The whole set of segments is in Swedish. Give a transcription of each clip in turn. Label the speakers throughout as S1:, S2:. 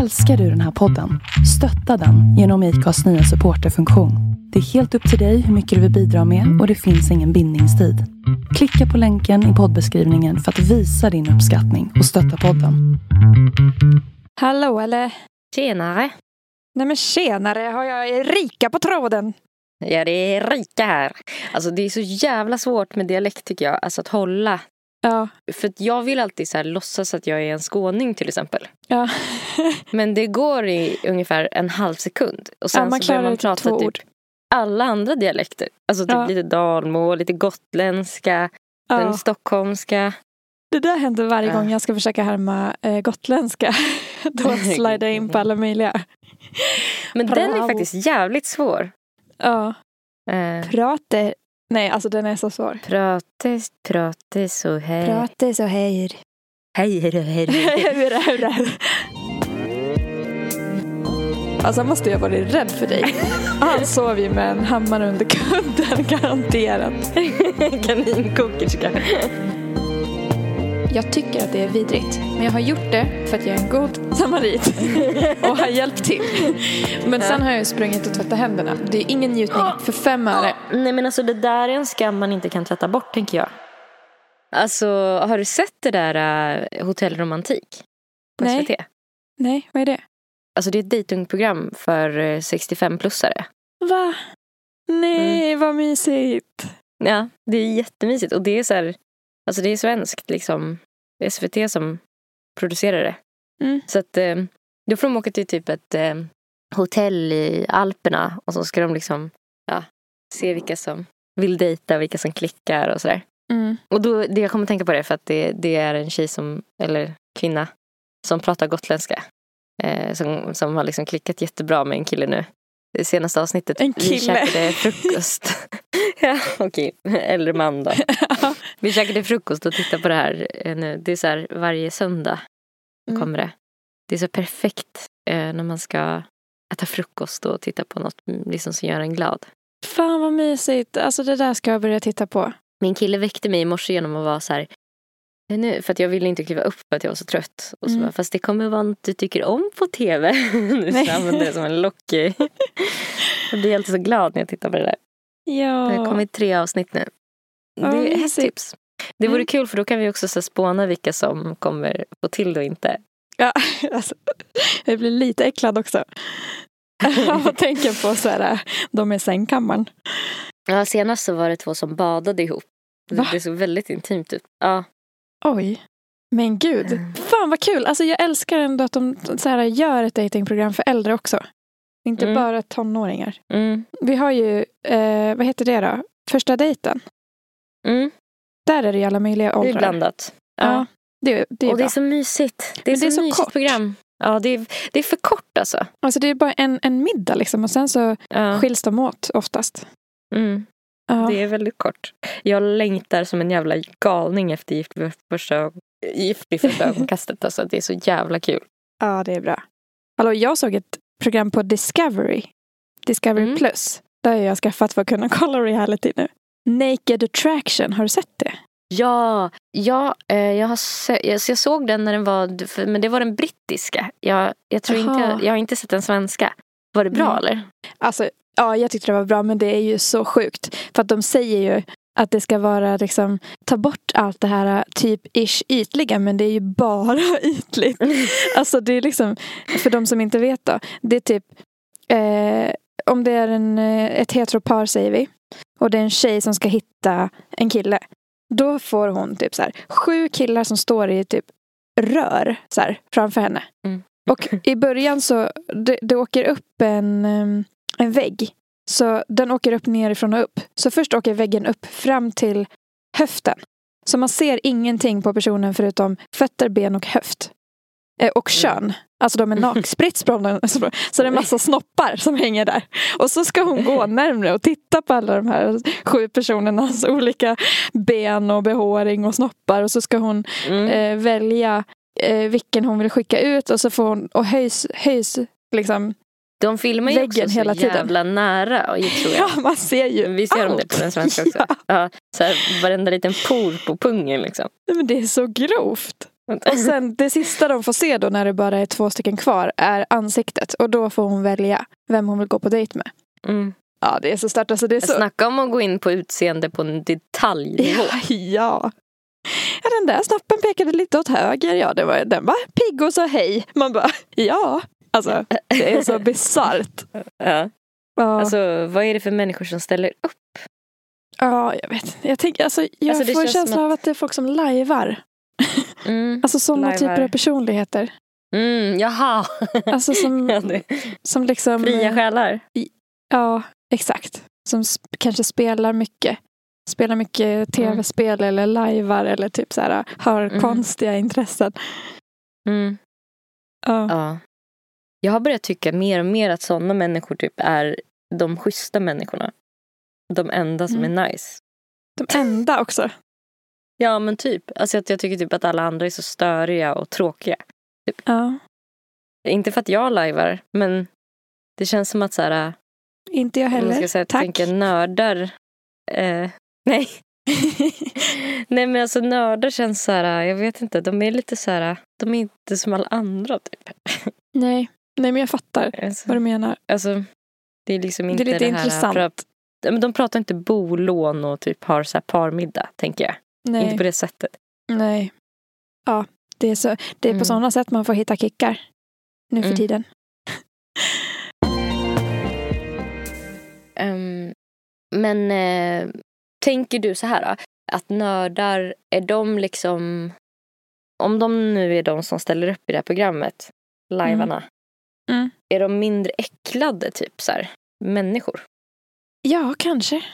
S1: Älskar du den här podden? Stötta den genom IKAs nya supporterfunktion. Det är helt upp till dig hur mycket du vill bidra med och det finns ingen bindningstid. Klicka på länken i poddbeskrivningen för att visa din uppskattning och stötta podden.
S2: Hallå eller?
S3: Tjenare!
S2: Nej men tjenare, har jag Erika på tråden?
S3: Ja, det är Rika här. Alltså det är så jävla svårt med dialekt tycker jag, alltså att hålla.
S2: Ja.
S3: För att jag vill alltid så här låtsas att jag är en skåning till exempel.
S2: Ja,
S3: Men det går i ungefär en halv sekund. Och sen
S2: ja man
S3: så
S2: klarar
S3: börjar man
S2: det typ
S3: prata
S2: två
S3: typ
S2: ord.
S3: alla andra dialekter. Alltså typ
S2: Ja.
S3: lite dalmål, lite gotländska, den
S2: Ja.
S3: stockholmska.
S2: Det där händer varje
S3: Ja.
S2: gång jag ska försöka härma eh, gotländska. Då slidar jag in på alla möjliga.
S3: Men den
S2: Bravo.
S3: är faktiskt jävligt svår.
S2: Ja.
S3: Eh,
S2: Prater. Nej, alltså den är så svår.
S3: prates, prates och hej.
S2: Prater så hejr.
S3: Hej, hej, hej, hej.
S2: hur är det? Alltså han måste jag vara rädd för dig. Han sov ju med en hammare under kudden garanterat.
S3: Kaninkokerska.
S2: Jag tycker att det är vidrigt. Men jag har gjort det för att jag är en god samarit. Och har hjälpt till. Men sen har jag ju sprungit och tvättat händerna. Det är ingen njutning för fem öre.
S3: Nej men alltså det där är en skam man inte kan tvätta bort tänker jag. Alltså har du sett det där uh, Hotell Romantik? På
S2: Nej.
S3: SVT?
S2: Nej, vad är det?
S3: Alltså det är ett dejtingprogram för eh, 65-plussare.
S2: Va? Nej, vad mysigt.
S3: Ja, det är jättemysigt och det är så här, alltså det är svenskt liksom. Det är SVT som producerar det.
S2: Mm.
S3: Så att eh, då får de åka till typ ett eh, hotell i Alperna och så ska de liksom ja, se vilka som vill dejta, vilka som klickar och sådär.
S2: Mm.
S3: Och då, det jag kommer tänka på det för att det, det är en tjej som, eller kvinna som pratar gotländska. Eh, som, som har liksom klickat jättebra med en kille nu. Det senaste avsnittet.
S2: En
S3: Vi
S2: kille.
S3: käkade frukost. ja, okej, äldre man då. Vi käkade frukost och tittade på det här eh, nu. Det är så här varje söndag
S2: Mm.
S3: kommer det. Det är så perfekt eh, när man ska äta frukost och titta på något mm, liksom, som gör en glad.
S2: Fan vad mysigt. Alltså det där ska jag börja titta på.
S3: Min kille väckte mig i morse genom att vara så här. "Men Nu, för att jag ville inte kliva upp för att jag var så trött. Och så
S2: Mm.
S3: bara, fast det kommer vara något du tycker om på tv. nu
S2: Nej.
S3: så använder jag som en lock. jag blir alltid så glad när jag tittar på det där.
S2: Ja.
S3: Det har kommit tre avsnitt nu.
S2: Ja,
S3: det är ett
S2: mysigt.
S3: tips. Det vore
S2: Mm.
S3: kul för då kan vi också så här spåna vilka som kommer få till det och inte.
S2: Ja, alltså, jag blir lite äcklad också. Jag tänker på så här, de i sängkammaren.
S3: Ja, senast så var det två som badade ihop.
S2: Va?
S3: Det såg väldigt intimt ut. Ja.
S2: Oj, men gud.
S3: Mm.
S2: Fan vad kul. Alltså jag älskar ändå att de så här, gör ett datingprogram för äldre också. Inte
S3: Mm.
S2: bara tonåringar.
S3: Mm.
S2: Vi har ju, eh, vad heter det då? Första dejten.
S3: Mm.
S2: Där är det ju alla möjliga
S3: Det
S2: åldrar.
S3: är blandat.
S2: Ja, det, det är
S3: och det
S2: bra.
S3: är så mysigt. Det är,
S2: Men
S3: så,
S2: det är så
S3: mysigt
S2: kort.
S3: program. Ja, det är, det är för kort alltså.
S2: Alltså det är bara en, en middag liksom och sen så
S3: Ja.
S2: skiljs de åt oftast.
S3: Mm.
S2: Ja.
S3: Det är väldigt kort. Jag längtar som en jävla galning efter Gift vid första, ögon- gift vid första ögonkastet. Alltså, det är så jävla kul.
S2: Ja, det är bra. Hallå, jag såg ett program på Discovery. Discovery
S3: Mm.
S2: Plus. Där har jag skaffat för att kunna kolla reality nu. Naked Attraction, har du sett det?
S3: Ja, ja eh, jag, har sö- jag, så jag såg den när den var, för- men det var den brittiska. Jag, jag, tror inte,
S2: Jaha.
S3: jag, jag har inte sett den svenska. Var det bra
S2: Mm.
S3: eller?
S2: Alltså, ja, jag tyckte det var bra, men det är ju så sjukt. För att de säger ju att det ska vara liksom, ta bort allt det här typ ish ytliga, men det är ju bara ytligt. Alltså det är liksom, för de som inte vet då, det är typ, eh, om det är en, eh, ett heteropar säger vi, och det är en tjej som ska hitta en kille, då får hon typ så här, sju killar som står i typ rör så här, framför henne.
S3: Mm.
S2: Och i början så, det, det åker upp en, em, en vägg. Så den åker upp nerifrån och upp. Så först åker väggen upp fram till höften. Så man ser ingenting på personen förutom fötter, ben och höft. Eh, och
S3: Mm.
S2: kön. Alltså de är nak- spritt språngna. Så det är en massa snoppar som hänger där. Och så ska hon gå närmre och titta på alla de här sju personernas olika ben och behåring och snoppar. Och så ska hon
S3: Mm.
S2: eh, välja eh, vilken hon vill skicka ut och så får hon, och höjs, höjs liksom.
S3: De filmar ju också
S2: väggen
S3: så
S2: hela tiden.
S3: jävla nära, och- tror jag.
S2: Ja, man ser ju
S3: Vi ser dem
S2: allt.
S3: det på den svenska också.
S2: Ja,
S3: Ja, så här, varenda liten por på pungen liksom.
S2: men det är så grovt. Och sen det sista de får se då när det bara är två stycken kvar är ansiktet. Och då får hon välja vem hon vill gå på dejt med.
S3: Mm.
S2: Ja, det är så stört. Alltså, det är så...
S3: Snacka om att gå in på utseende på en detaljnivå.
S2: Ja, ja. Ja, den där snoppen pekade lite åt höger. Ja, det var, den var pigg och sa hej. Man bara, ja. Alltså, det är så bisarrt.
S3: Ja.
S2: Ja.
S3: Alltså, vad är det för människor som ställer upp?
S2: ja, jag vet. Jag, tänker, alltså, jag
S3: Alltså, det
S2: får
S3: känns som
S2: känslan av att det är folk som lajvar.
S3: Mm.
S2: Alltså sådana
S3: Lajvar.
S2: typer av personligheter.
S3: Mm, jaha!
S2: Alltså
S3: Ja,
S2: som,
S3: det-
S2: som liksom...
S3: Fria själar.
S2: Ja, exakt. Som sp- kanske spelar mycket. Spelar mycket tv-spel eller lajvar eller typ så här, har
S3: Mm.
S2: konstiga intressen.
S3: Mm.
S2: Ja.
S3: Ja. Jag har börjat tycka mer och mer att sådana människor typ är de schyssta människorna. De enda som
S2: Mm.
S3: är nice.
S2: De enda också.
S3: Ja men typ. Alltså att jag tycker typ att alla andra är så störiga och tråkiga.
S2: Ja.
S3: Inte för att jag lajvar men det känns som att så här,
S2: Inte jag
S3: om man
S2: heller.
S3: ska säga,
S2: Tack.
S3: tänka nördar. Eh, nej. nej men alltså nördar känns så här, jag vet inte, de är lite så här, de är inte som alla andra typ.
S2: Nej. Nej, men jag fattar
S3: Alltså,
S2: vad du menar.
S3: Alltså, det är liksom inte
S2: det är lite
S3: här
S2: intressant.
S3: pra- Ja, men de pratar inte bolån och typ har så här parmiddag, tänker jag. Inte
S2: Nej.
S3: på det sättet.
S2: Nej. Ja, det är, så, det är på
S3: Mm.
S2: sådana sätt man får hitta kickar. Nu för
S3: Mm.
S2: tiden.
S3: Ehm, men eh, tänker du så här då? Att nördar, är de liksom... Om de nu är de som ställer upp i det här programmet, lajvarna.
S2: Mm.
S3: Är de mindre äcklade typ så här, människor?
S2: Ja, kanske.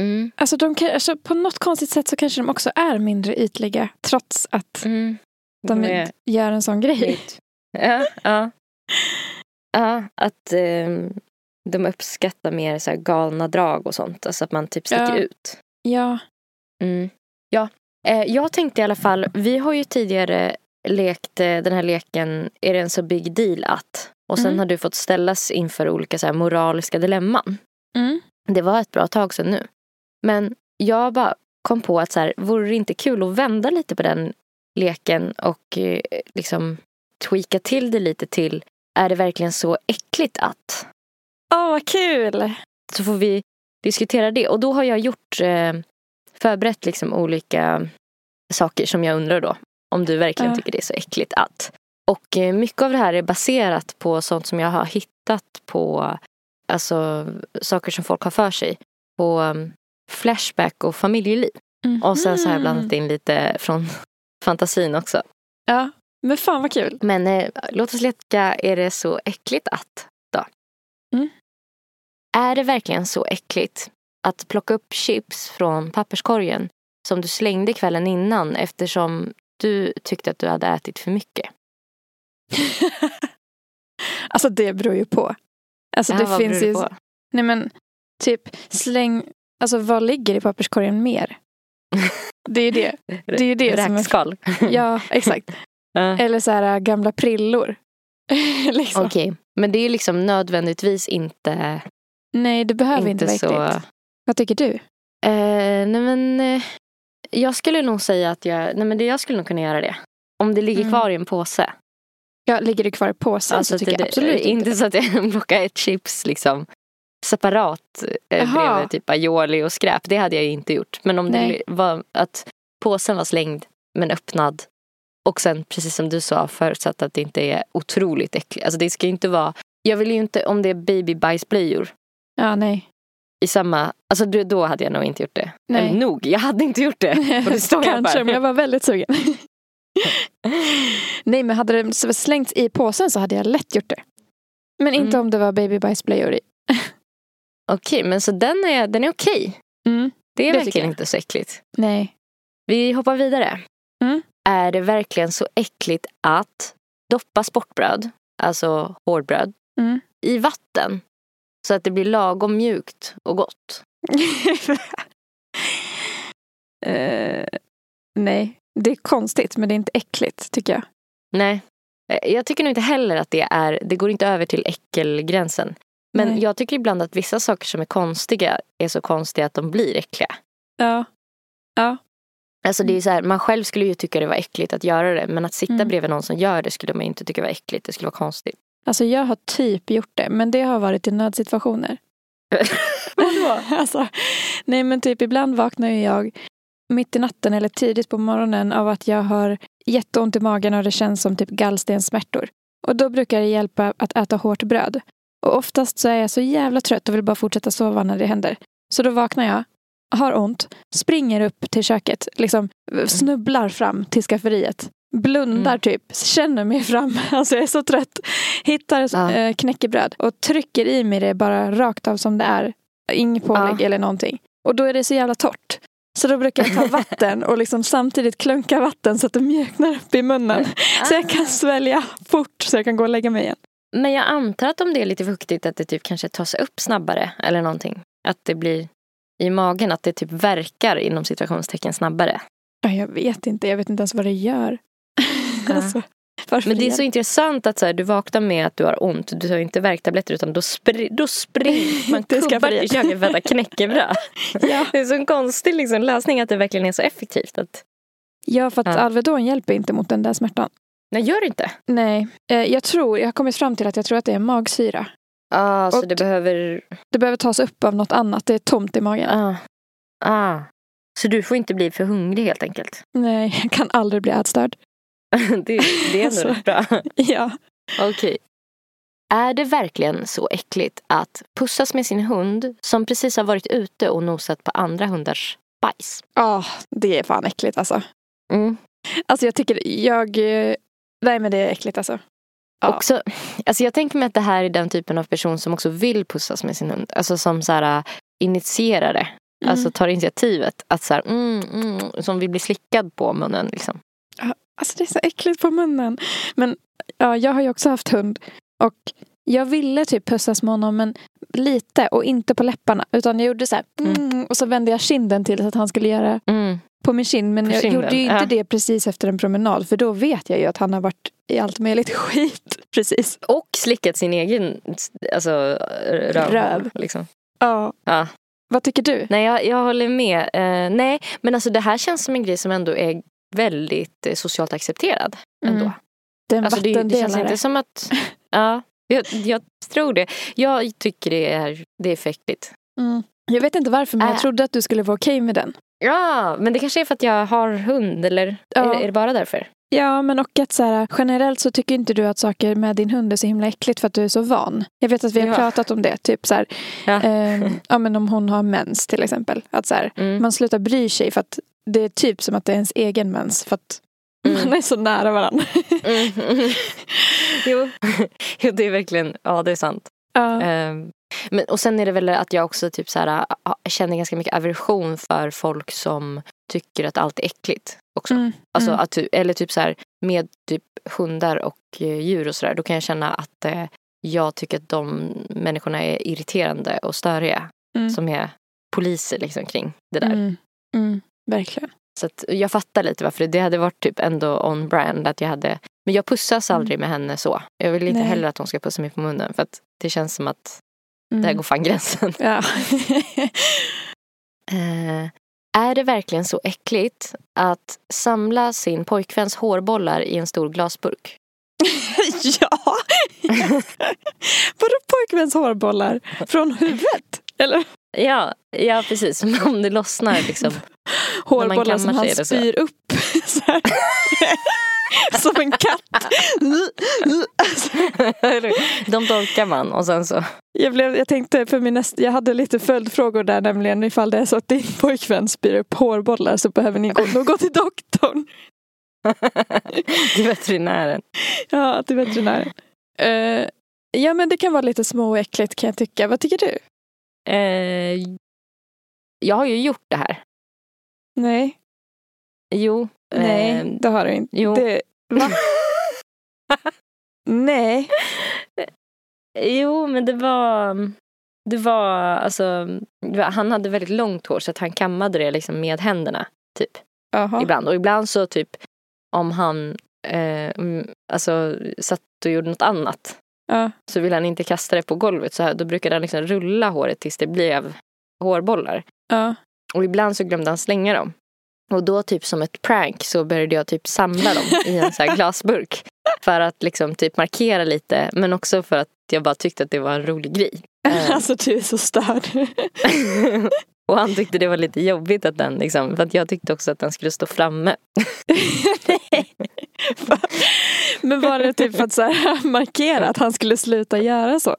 S3: Mm.
S2: Alltså, de kan, alltså, på något konstigt sätt så kanske de också är mindre ytliga trots att
S3: Mm.
S2: de
S3: är-
S2: gör en sån grej.
S3: Ja, ja. ja att ehm, de uppskattar mer så här galna drag och sånt. Alltså att man typ sticker
S2: Ja.
S3: ut.
S2: Ja.
S3: Mm. Ja. Eh, jag tänkte i alla fall, vi har ju tidigare lekt eh, den här leken Är det en så big deal att? Och sen
S2: Mm.
S3: har du fått ställas inför olika så här moraliska dilemman.
S2: Mm.
S3: Det var ett bra tag sedan nu. Men jag bara kom på att så här, vore det inte kul att vända lite på den leken och eh, liksom tweaka till det lite till är det verkligen så äckligt att?
S2: Åh, vad kul!
S3: Så får vi diskutera det. Och då har jag gjort eh, förberett liksom olika saker som jag undrar då. Om du verkligen
S2: Ja.
S3: tycker det är så äckligt att. Och eh, mycket av det här är baserat på sånt som jag har hittat på alltså saker som folk har för sig. På um, Flashback och familjeliv. Mm. Och sen så har jag blandat in lite från fantasin också.
S2: Mm. Ja, men fan vad kul.
S3: Men eh, låt oss leka, är det så äckligt att då?
S2: Mm.
S3: Är det verkligen så äckligt att plocka upp chips från papperskorgen som du slängde kvällen innan eftersom du tyckte att du hade ätit för mycket?
S2: Alltså det beror ju på. Alltså
S3: här,
S2: det
S3: vad
S2: finns
S3: beror
S2: ju...
S3: det på?
S2: Nej men, typ släng... Alltså vad ligger i papperskorgen mer? Det är ju det. Det är ju det som är...
S3: Räkskal.
S2: Ja, exakt.
S3: Ja.
S2: Eller så här äh, gamla prillor. liksom.
S3: Okej, men det är liksom nödvändigtvis inte,
S2: Nej, det behöver inte,
S3: inte
S2: vara
S3: så...
S2: äckligt. Vad tycker du?
S3: Eh, nej men, eh, jag skulle nog säga att jag, nej men det, jag skulle nog kunna göra det. Om det ligger
S2: Mm.
S3: kvar i en påse.
S2: Ja, ligger det kvar i påsen så
S3: Alltså,
S2: tycker
S3: det,
S2: jag absolut
S3: inte.
S2: inte.
S3: så att jag plockar ett chips liksom separat eh,
S2: Jaha.
S3: bredvid typ aioli och skräp. Det hade jag ju inte gjort. Men om
S2: Nej.
S3: det var att påsen var slängd men öppnad. Och sen precis som du sa förutsatt att det inte är otroligt äckligt. Alltså det ska ju inte vara. Jag vill ju inte om det är babybajsblöjor
S2: Ja, nej.
S3: i samma. Alltså då- då hade jag nog inte gjort det.
S2: Nej.
S3: Eller nog, jag hade inte gjort det. Och det står jag
S2: Kanske,
S3: för.
S2: men jag var väldigt sugen. Nej, men hade det slängts i påsen så hade jag lätt gjort det. Men inte
S3: Mm.
S2: om det var babybajsblöjor i.
S3: Okej, men så den är, den är okej.
S2: Mm.
S3: Det
S2: Det
S3: är
S2: tycker
S3: verkligen
S2: jag.
S3: inte så äckligt.
S2: Nej.
S3: Vi hoppar vidare.
S2: Mm.
S3: Är det verkligen så äckligt att doppa sportbröd, alltså hårdbröd,
S2: Mm.
S3: i vatten så att det blir lagom mjukt och gott?
S2: Eh, nej, det är konstigt men det är inte äckligt tycker jag.
S3: Nej, Eh, jag tycker nog inte heller att det är, det går inte över till äckelgränsen. Men
S2: Nej.
S3: jag tycker ibland att vissa saker som är konstiga är så konstiga att de blir äckliga.
S2: Ja. ja.
S3: Alltså det är så här, man själv skulle ju tycka det var äckligt att göra det. Men att sitta
S2: Mm.
S3: bredvid någon som gör det skulle man inte tycka var äckligt. Det skulle vara konstigt.
S2: Alltså jag har typ gjort det, men det har varit i nödsituationer. Vadå? alltså, nej men typ ibland vaknar ju jag mitt i natten eller tidigt på morgonen av att jag har jätteont i magen och det känns som typ gallstenssmärtor. Och då brukar det hjälpa att äta hårt bröd. Och oftast så är jag så jävla trött och vill bara fortsätta sova när det händer. Så då vaknar jag, har ont, springer upp till köket, liksom snubblar fram till skafferiet. Blundar
S3: Mm.
S2: typ, känner mig fram, alltså jag är så trött. Hittar
S3: Ja.
S2: eh, knäckebröd och trycker i mig det bara rakt av som det är. Inget pålägg
S3: Ja.
S2: eller någonting. Och då är det så jävla torrt. Så då brukar jag ta vatten och liksom samtidigt klunka vatten så att det mjuknar upp i munnen.
S3: Ah.
S2: Så jag kan svälja fort så jag kan gå och lägga mig igen.
S3: Men jag antar att om det är lite fuktigt att det typ kanske tas upp snabbare eller någonting. Att det blir i magen, att det typ verkar inom situationstecken snabbare.
S2: Ja, Jag vet inte, jag vet inte ens vad det gör.
S3: Ja.
S2: alltså, varför
S3: Men det är så
S2: gör-
S3: intressant att så här, du vaknar med att du har ont. Du tar inte värktabletter utan då, spr- då springer man
S2: Till
S3: kubbar till
S2: skafferiet.
S3: köket för att äta knäckebröd.
S2: ja.
S3: Det är så en konstig liksom, lösning att det verkligen är så effektivt. Att,
S2: ja, för att
S3: Ja.
S2: Alvedon hjälper inte mot den där smärtan.
S3: nej, gör det inte.
S2: Nej, eh, jag tror, jag har kommit fram till att jag tror att det är magsyra.
S3: Ah, så
S2: Och-
S3: det behöver...
S2: Det behöver tas upp av något annat, det är tomt i magen.
S3: Ah. Ah. Så du får inte bli för hungrig helt enkelt.
S2: Nej, jag kan aldrig bli ätstörd.
S3: det, det är ändå
S2: Alltså.
S3: rätt bra.
S2: Ja.
S3: Okej. Är det verkligen så äckligt att pussas med sin hund som precis har varit ute och nosat på andra hundars bajs?
S2: Ja, det är fan äckligt alltså.
S3: Mm.
S2: Alltså jag tycker, jag... eh, Nej men det är äckligt alltså. Ja.
S3: Också, alltså jag tänker mig att det här är den typen av person som också vill pussas med sin hund. Alltså som så här, äh, initierar det.
S2: Mm.
S3: Alltså tar initiativet. Att så här, mm, mm, som vill bli slickad på munnen. Liksom.
S2: Alltså det är så äckligt på munnen. Men ja, jag har ju också haft hund. Och jag ville typ pussas med honom men lite och inte på läpparna. Utan jag gjorde så här
S3: Mm.
S2: mm, och så vände jag kinden till så att han skulle göra
S3: Mm.
S2: på min kind. Men
S3: På
S2: jag
S3: kinden,
S2: gjorde ju inte
S3: ja.
S2: det precis efter en promenad. För då vet jag ju att han har varit i allt möjligt skit. Precis.
S3: Och slickat sin egen alltså, röv.
S2: Röv.
S3: Liksom.
S2: Ja.
S3: Ja.
S2: Vad tycker du?
S3: Nej, jag, jag håller med. Eh, nej, men alltså det här känns som en grej som ändå är väldigt eh, socialt accepterad. Ändå.
S2: Mm. Det är en
S3: Alltså det, det
S2: vattendelare.
S3: känns inte som att... Ja, jag, jag tror det. Jag tycker det är, det är för äckligt.
S2: Mm. Jag vet inte varför men jag
S3: Äh.
S2: trodde att du skulle vara okej med den.
S3: Ja, men det kanske är för att jag har hund eller
S2: Ja.
S3: är, är det bara därför?
S2: Ja, men och att så här, generellt så tycker inte du att saker med din hund är så himla äckligt för att du är så van. Jag vet att vi har
S3: Ja.
S2: pratat om det, typ så här,
S3: Ja.
S2: ehm, ja, men om hon har mens till exempel. Att så här,
S3: Mm.
S2: man slutar bry sig för att det är typ som att det är ens egen mens för att
S3: Mm.
S2: man är så nära varandra.
S3: Mm. Mm. jo. jo, det är verkligen, ja det är sant.
S2: Ja.
S3: Ehm, Men, och sen är det väl att jag också typ så här, äh, känner ganska mycket aversion för folk som tycker att allt är äckligt. Också.
S2: Mm.
S3: Alltså
S2: Mm.
S3: att, du- eller typ så här, med typ hundar och eh, djur och sådär. Då kan jag känna att eh, jag tycker att de människorna är irriterande och störiga.
S2: Mm.
S3: Som är poliser liksom kring det där.
S2: Mm. Mm. Verkligen.
S3: Så att jag fattar lite varför det hade varit typ ändå on brand att jag hade. Men jag pussas aldrig med henne så. Jag vill inte
S2: Mm. Nej.
S3: heller att hon ska pussa mig på munnen. För att det känns som att
S2: Mm.
S3: där går fan gränsen.
S2: Ja.
S3: Eh, är det verkligen så äckligt att samla sin pojkväns hårbollar i en stor glasburk?
S2: ja. Vadå pojkväns hårbollar? Från huvudet? Eller?
S3: Ja, ja precis. Som om det lossnar liksom. När
S2: hårbollar
S3: man
S2: som
S3: kammar
S2: han
S3: sig är det så.
S2: spyr upp. Så här. som en katt. Alltså,
S3: De torkar man och sen så.
S2: jag, blev, jag tänkte för min nästa, jag hade lite följdfrågor där nämligen ifall det är så att din pojkvän spyr upp hårbollar så behöver ni gå, nog gå till doktorn.
S3: Till veterinären.
S2: Ja, till veterinären. Eh, ja men det kan vara lite små och äckligt kan jag tycka. Vad tycker du?
S3: Eh, jag har ju gjort det här.
S2: Nej,
S3: Jo. eh,
S2: nej det har du inte.
S3: Jo.
S2: Det, va? nej.
S3: Jo, men det var... Det var alltså... Det var, han hade väldigt långt hår så att han kammade det liksom med händerna. Typ.
S2: Jaha.
S3: ibland. Och ibland så typ om han eh, mm, alltså, satt och gjorde något annat
S2: Ja.
S3: så ville han inte kasta det på golvet. Så här, då brukade han liksom rulla håret tills det blev hårbollar.
S2: Ja.
S3: Och ibland så glömde han slänga dem. Och då typ som ett prank så började jag typ samla dem i en så här glasburk. För att liksom typ markera lite men också för att jag bara tyckte att det var en rolig grej. Eh,
S2: Alltså du är så störd.
S3: och han tyckte det var lite jobbigt att den liksom, för att jag tyckte också att den skulle stå framme.
S2: Men var det typ för att så här markera att han skulle sluta göra så?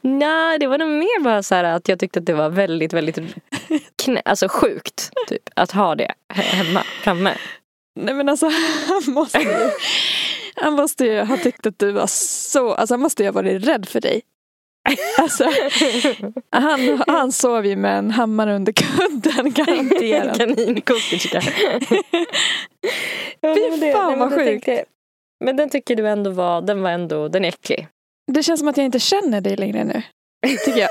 S3: Nej, det var nog mer bara så här att jag tyckte att det var väldigt, väldigt knä, alltså sjukt typ, att ha det he- hemma, framme.
S2: Nej men alltså han måste ju, han måste ju ha tyckt att du var så, alltså han måste ju ha varit rädd för dig. Alltså, han, han sov ju med en hammare under kudden garanterat.
S3: Kaninkokerska. Ja, men det-
S2: fan,
S3: nej, men
S2: vad
S3: jag
S2: sjukt.
S3: tänkte- Men den tycker du ändå var, den var ändå, den är äcklig.
S2: Det känns som att jag inte känner dig längre nu. Tycker jag.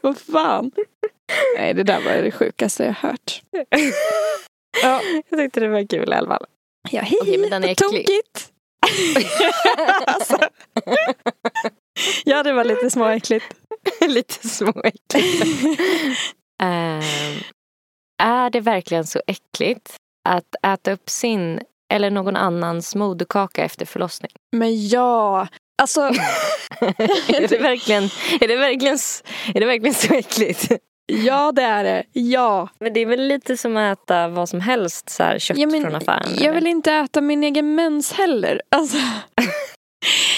S2: Vad fan. Nej, det där var det sjukaste jag hört. Ja.
S3: Jag tyckte det var kul i alla fall.
S2: Ja, hej.
S3: Okej, men den är
S2: vad
S3: äcklig.
S2: tokigt. alltså. Ja, det var lite småäckligt.
S3: Lite småäckligt. Ehm, är det verkligen så äckligt att äta upp sin eller någon annans moderkaka efter förlossning?
S2: Men ja, alltså
S3: är, det verkligen, är, det verkligen, s- är det verkligen så äckligt?
S2: ja det är det. Ja.
S3: Men det är väl lite som att äta vad som helst, så här, kött
S2: Ja, men
S3: från affären.
S2: Jag
S3: eller?
S2: vill inte äta min egen mens heller. Alltså.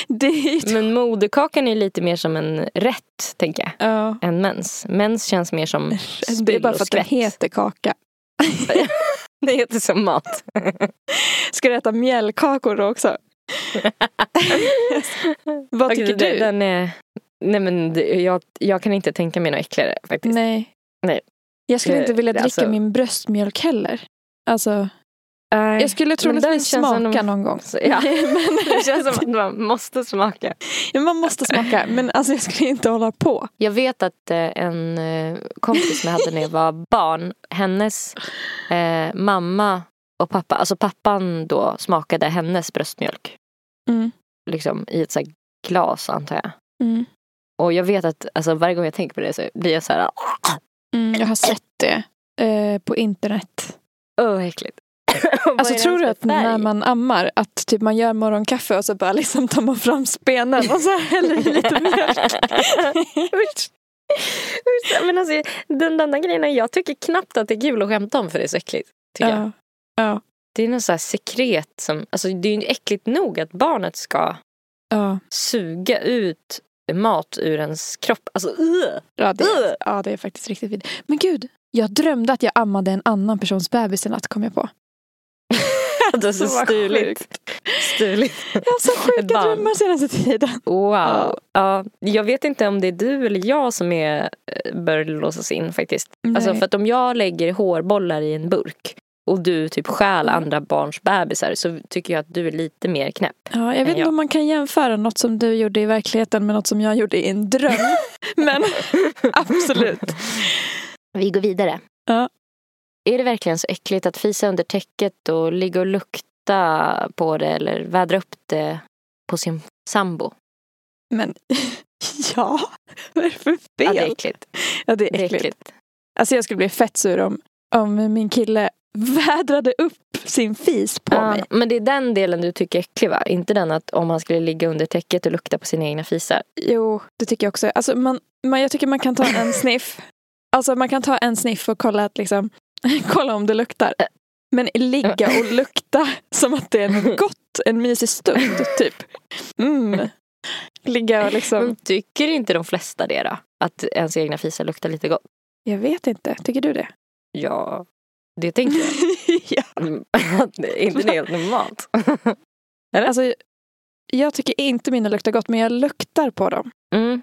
S2: Det är ju...
S3: Men moderkakan är lite mer som en rätt, tänker jag,
S2: Ja.
S3: än mens. Mens känns mer som spill
S2: Det är bara
S3: och
S2: för att den
S3: skvätt.
S2: heter kaka.
S3: Det heter som mat.
S2: Ska du äta mjällkakor då också? Vad
S3: Okej,
S2: tycker
S3: den-
S2: du?
S3: Den är... Nej men det- jag, jag kan inte tänka mig något äckligare faktiskt.
S2: Nej.
S3: Nej.
S2: Jag skulle
S3: Eh,
S2: inte vilja dricka
S3: alltså-
S2: min bröstmjölk heller. Alltså, jag skulle troligtvis
S3: känns som
S2: smaka
S3: de-
S2: någon gång.
S3: Så, ja.
S2: men,
S3: Det känns som att man måste smaka.
S2: Ja, man måste smaka, men alltså, jag skulle inte hålla på.
S3: Jag vet att eh, en eh, kompis som jag hade när jag var barn, hennes eh, mamma och pappa, alltså pappan då smakade hennes bröstmjölk.
S2: Mm.
S3: Liksom i ett så här glas antar jag.
S2: Mm.
S3: Och jag vet att alltså, varje gång jag tänker på det så blir jag så här,
S2: Mm, jag har sett det eh, på internet.
S3: åh vad äckligt. Och vad är
S2: Alltså,
S3: det
S2: tror du
S3: ens
S2: att
S3: för färg?
S2: när man ammar att typ, man gör morgonkaffe och så bara liksom tar man fram spenen och så häller i lite mjölk?
S3: Usch. Usch. Men alltså, den, den där grejen, jag tycker knappt att det är kul att skämta om för det är så äckligt. Tycker jag.
S2: Ja. Ja.
S3: Det är något så här sekret som, alltså det är ju äckligt nog att barnet ska
S2: Ja.
S3: suga ut mat ur ens kropp. Alltså, ugh.
S2: Ja det,
S3: Ugh.
S2: är, ja, det är faktiskt riktigt vid. Men gud, jag drömde att jag ammade en annan persons bebis i natt kom jag på.
S3: det är Alltså, så
S2: Vad
S3: stuligt. stuligt.
S2: Jag har så sjuka
S3: Ett barn.
S2: drömmar senaste tiden.
S3: Wow.
S2: Ja.
S3: Ja. jag vet inte om det är du eller jag som är, eh, bör låsas in faktiskt. Alltså
S2: Nej.
S3: för att om jag lägger hårbollar i en burk och du typ stjäl
S2: Mm.
S3: andra barns bebisar så tycker jag att du är lite mer knäpp.
S2: ja, jag vet
S3: Ja.
S2: inte om man kan jämföra något som du gjorde i verkligheten med något som jag gjorde i en dröm. Men absolut.
S3: Vi går vidare.
S2: Ja.
S3: Är det verkligen så äckligt att fisa under täcket och ligga och lukta på det eller vädra upp det på sin sambo?
S2: Men ja, vad är det för
S3: Ja, det är
S2: fel?
S3: äckligt.
S2: Ja, det är
S3: Det är
S2: äckligt.
S3: äckligt.
S2: Alltså jag skulle bli fett sur om, om min kille vädrade upp sin fis på
S3: Ja,
S2: mig.
S3: men det är den delen du tycker är äcklig va? Inte den att om han skulle ligga under täcket och lukta på sina egna fisar.
S2: Jo, det tycker jag också. Alltså man, man, jag tycker man kan ta en sniff. Alltså man kan ta en sniff och kolla, att liksom, kolla om det luktar. Men ligga och lukta som att det är något gott, en mysig stund typ. Mm. Ligga och liksom,
S3: Men tycker inte de flesta det då? Att ens egna fisar luktar lite gott?
S2: jag vet inte, tycker du det?
S3: Ja, det tänker jag.
S2: ja.
S3: Mm, det är inte det helt normalt?
S2: Alltså, jag tycker inte mina luktar gott, men jag luktar på dem.
S3: Mm.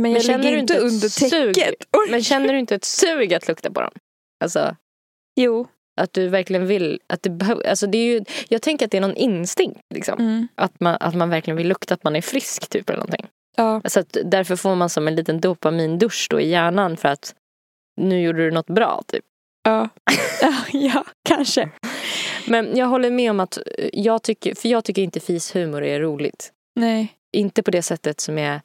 S2: Men jag
S3: känner
S2: ligger
S3: du
S2: inte
S3: inte ett
S2: under
S3: sug?
S2: täcket.
S3: Men känner du inte ett sug att lukta på dem? Alltså
S2: Jo.
S3: att du verkligen vill, att du behöver, alltså det är ju, jag tänker att det är någon instinkt liksom.
S2: Mm.
S3: Att, man, att man verkligen vill lukta att man är frisk typ eller någonting.
S2: Ja.
S3: Så att därför får man som en liten dopamindusch då i hjärnan för att nu gjorde du något bra typ.
S2: Ja. ja, ja, kanske.
S3: Men jag håller med om att eh, jag tycker, för jag tycker inte fishumor är roligt.
S2: Nej.
S3: Inte på det sättet som är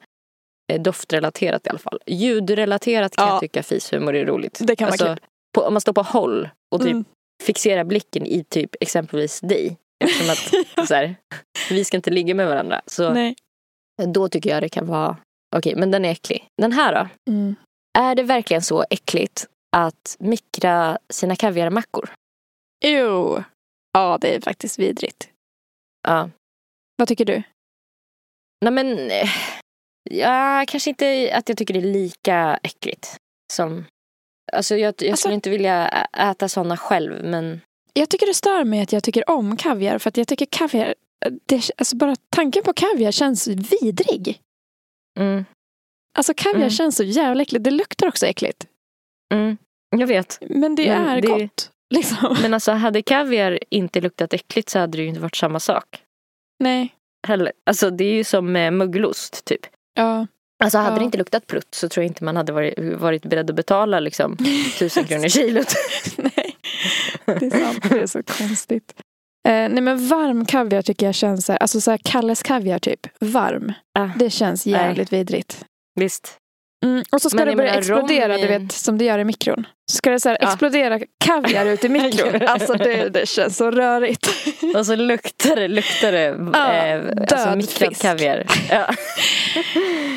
S3: eh, doftrelaterat i alla fall. Ljudrelaterat kan
S2: Ja.
S3: jag tycka fishumor är roligt.
S2: Det kan vara
S3: alltså,
S2: kul.
S3: på, om man står på håll och typ
S2: Mm.
S3: fixerar blicken i typ exempelvis dig. Eftersom att Alltså- så här, vi ska inte ligga med varandra. Så
S2: Nej.
S3: då tycker jag det kan vara, okej men den är äcklig. Den här då? Är det verkligen så äckligt att mikra sina kaviarmackor?
S2: Jo. Ja, det är faktiskt vidrigt.
S3: Ja.
S2: Vad tycker du?
S3: Nej men, eh, ja, kanske inte att jag tycker det är lika äckligt. Som, alltså jag, jag skulle
S2: Alltså-
S3: inte vilja ä- äta sådana själv men
S2: Jag tycker det stör mig att jag tycker om kaviar. För att jag tycker kaviar, det, alltså bara tanken på kaviar känns vidrig.
S3: mm,
S2: Alltså kaviar
S3: Mm.
S2: känns så jävla äckligt. Det luktar också äckligt.
S3: mm, jag vet.
S2: Men det
S3: Men
S2: är
S3: det-
S2: gott. Liksom.
S3: Men alltså hade kaviar inte luktat äckligt så hade det ju inte varit samma sak.
S2: Nej.
S3: Heller. Alltså det är ju som med mögelost typ.
S2: Ja.
S3: Alltså hade
S2: Ja.
S3: det inte luktat prutt så tror jag inte man hade varit, varit beredd att betala liksom tusen kronor kilot.
S2: nej. Det är sant. Det är så konstigt. Eh, nej men varm kaviar tycker jag känns så här, alltså så här Kalles kaviar typ. Varm.
S3: Ah.
S2: Det känns
S3: Nej.
S2: jävligt vidrigt.
S3: Visst.
S2: Mm, och så ska
S3: Men
S2: det
S3: jag
S2: börja
S3: menar,
S2: explodera,
S3: rom
S2: du
S3: i en-
S2: vet, som det gör i mikron. Så ska det så här
S3: Ja.
S2: explodera kaviar ut i mikron. alltså det, det känns så rörigt.
S3: Och så luktar det, luktar det
S2: Ja,
S3: eh, alltså
S2: död
S3: mikrad
S2: fisk.
S3: kaviar. Ja.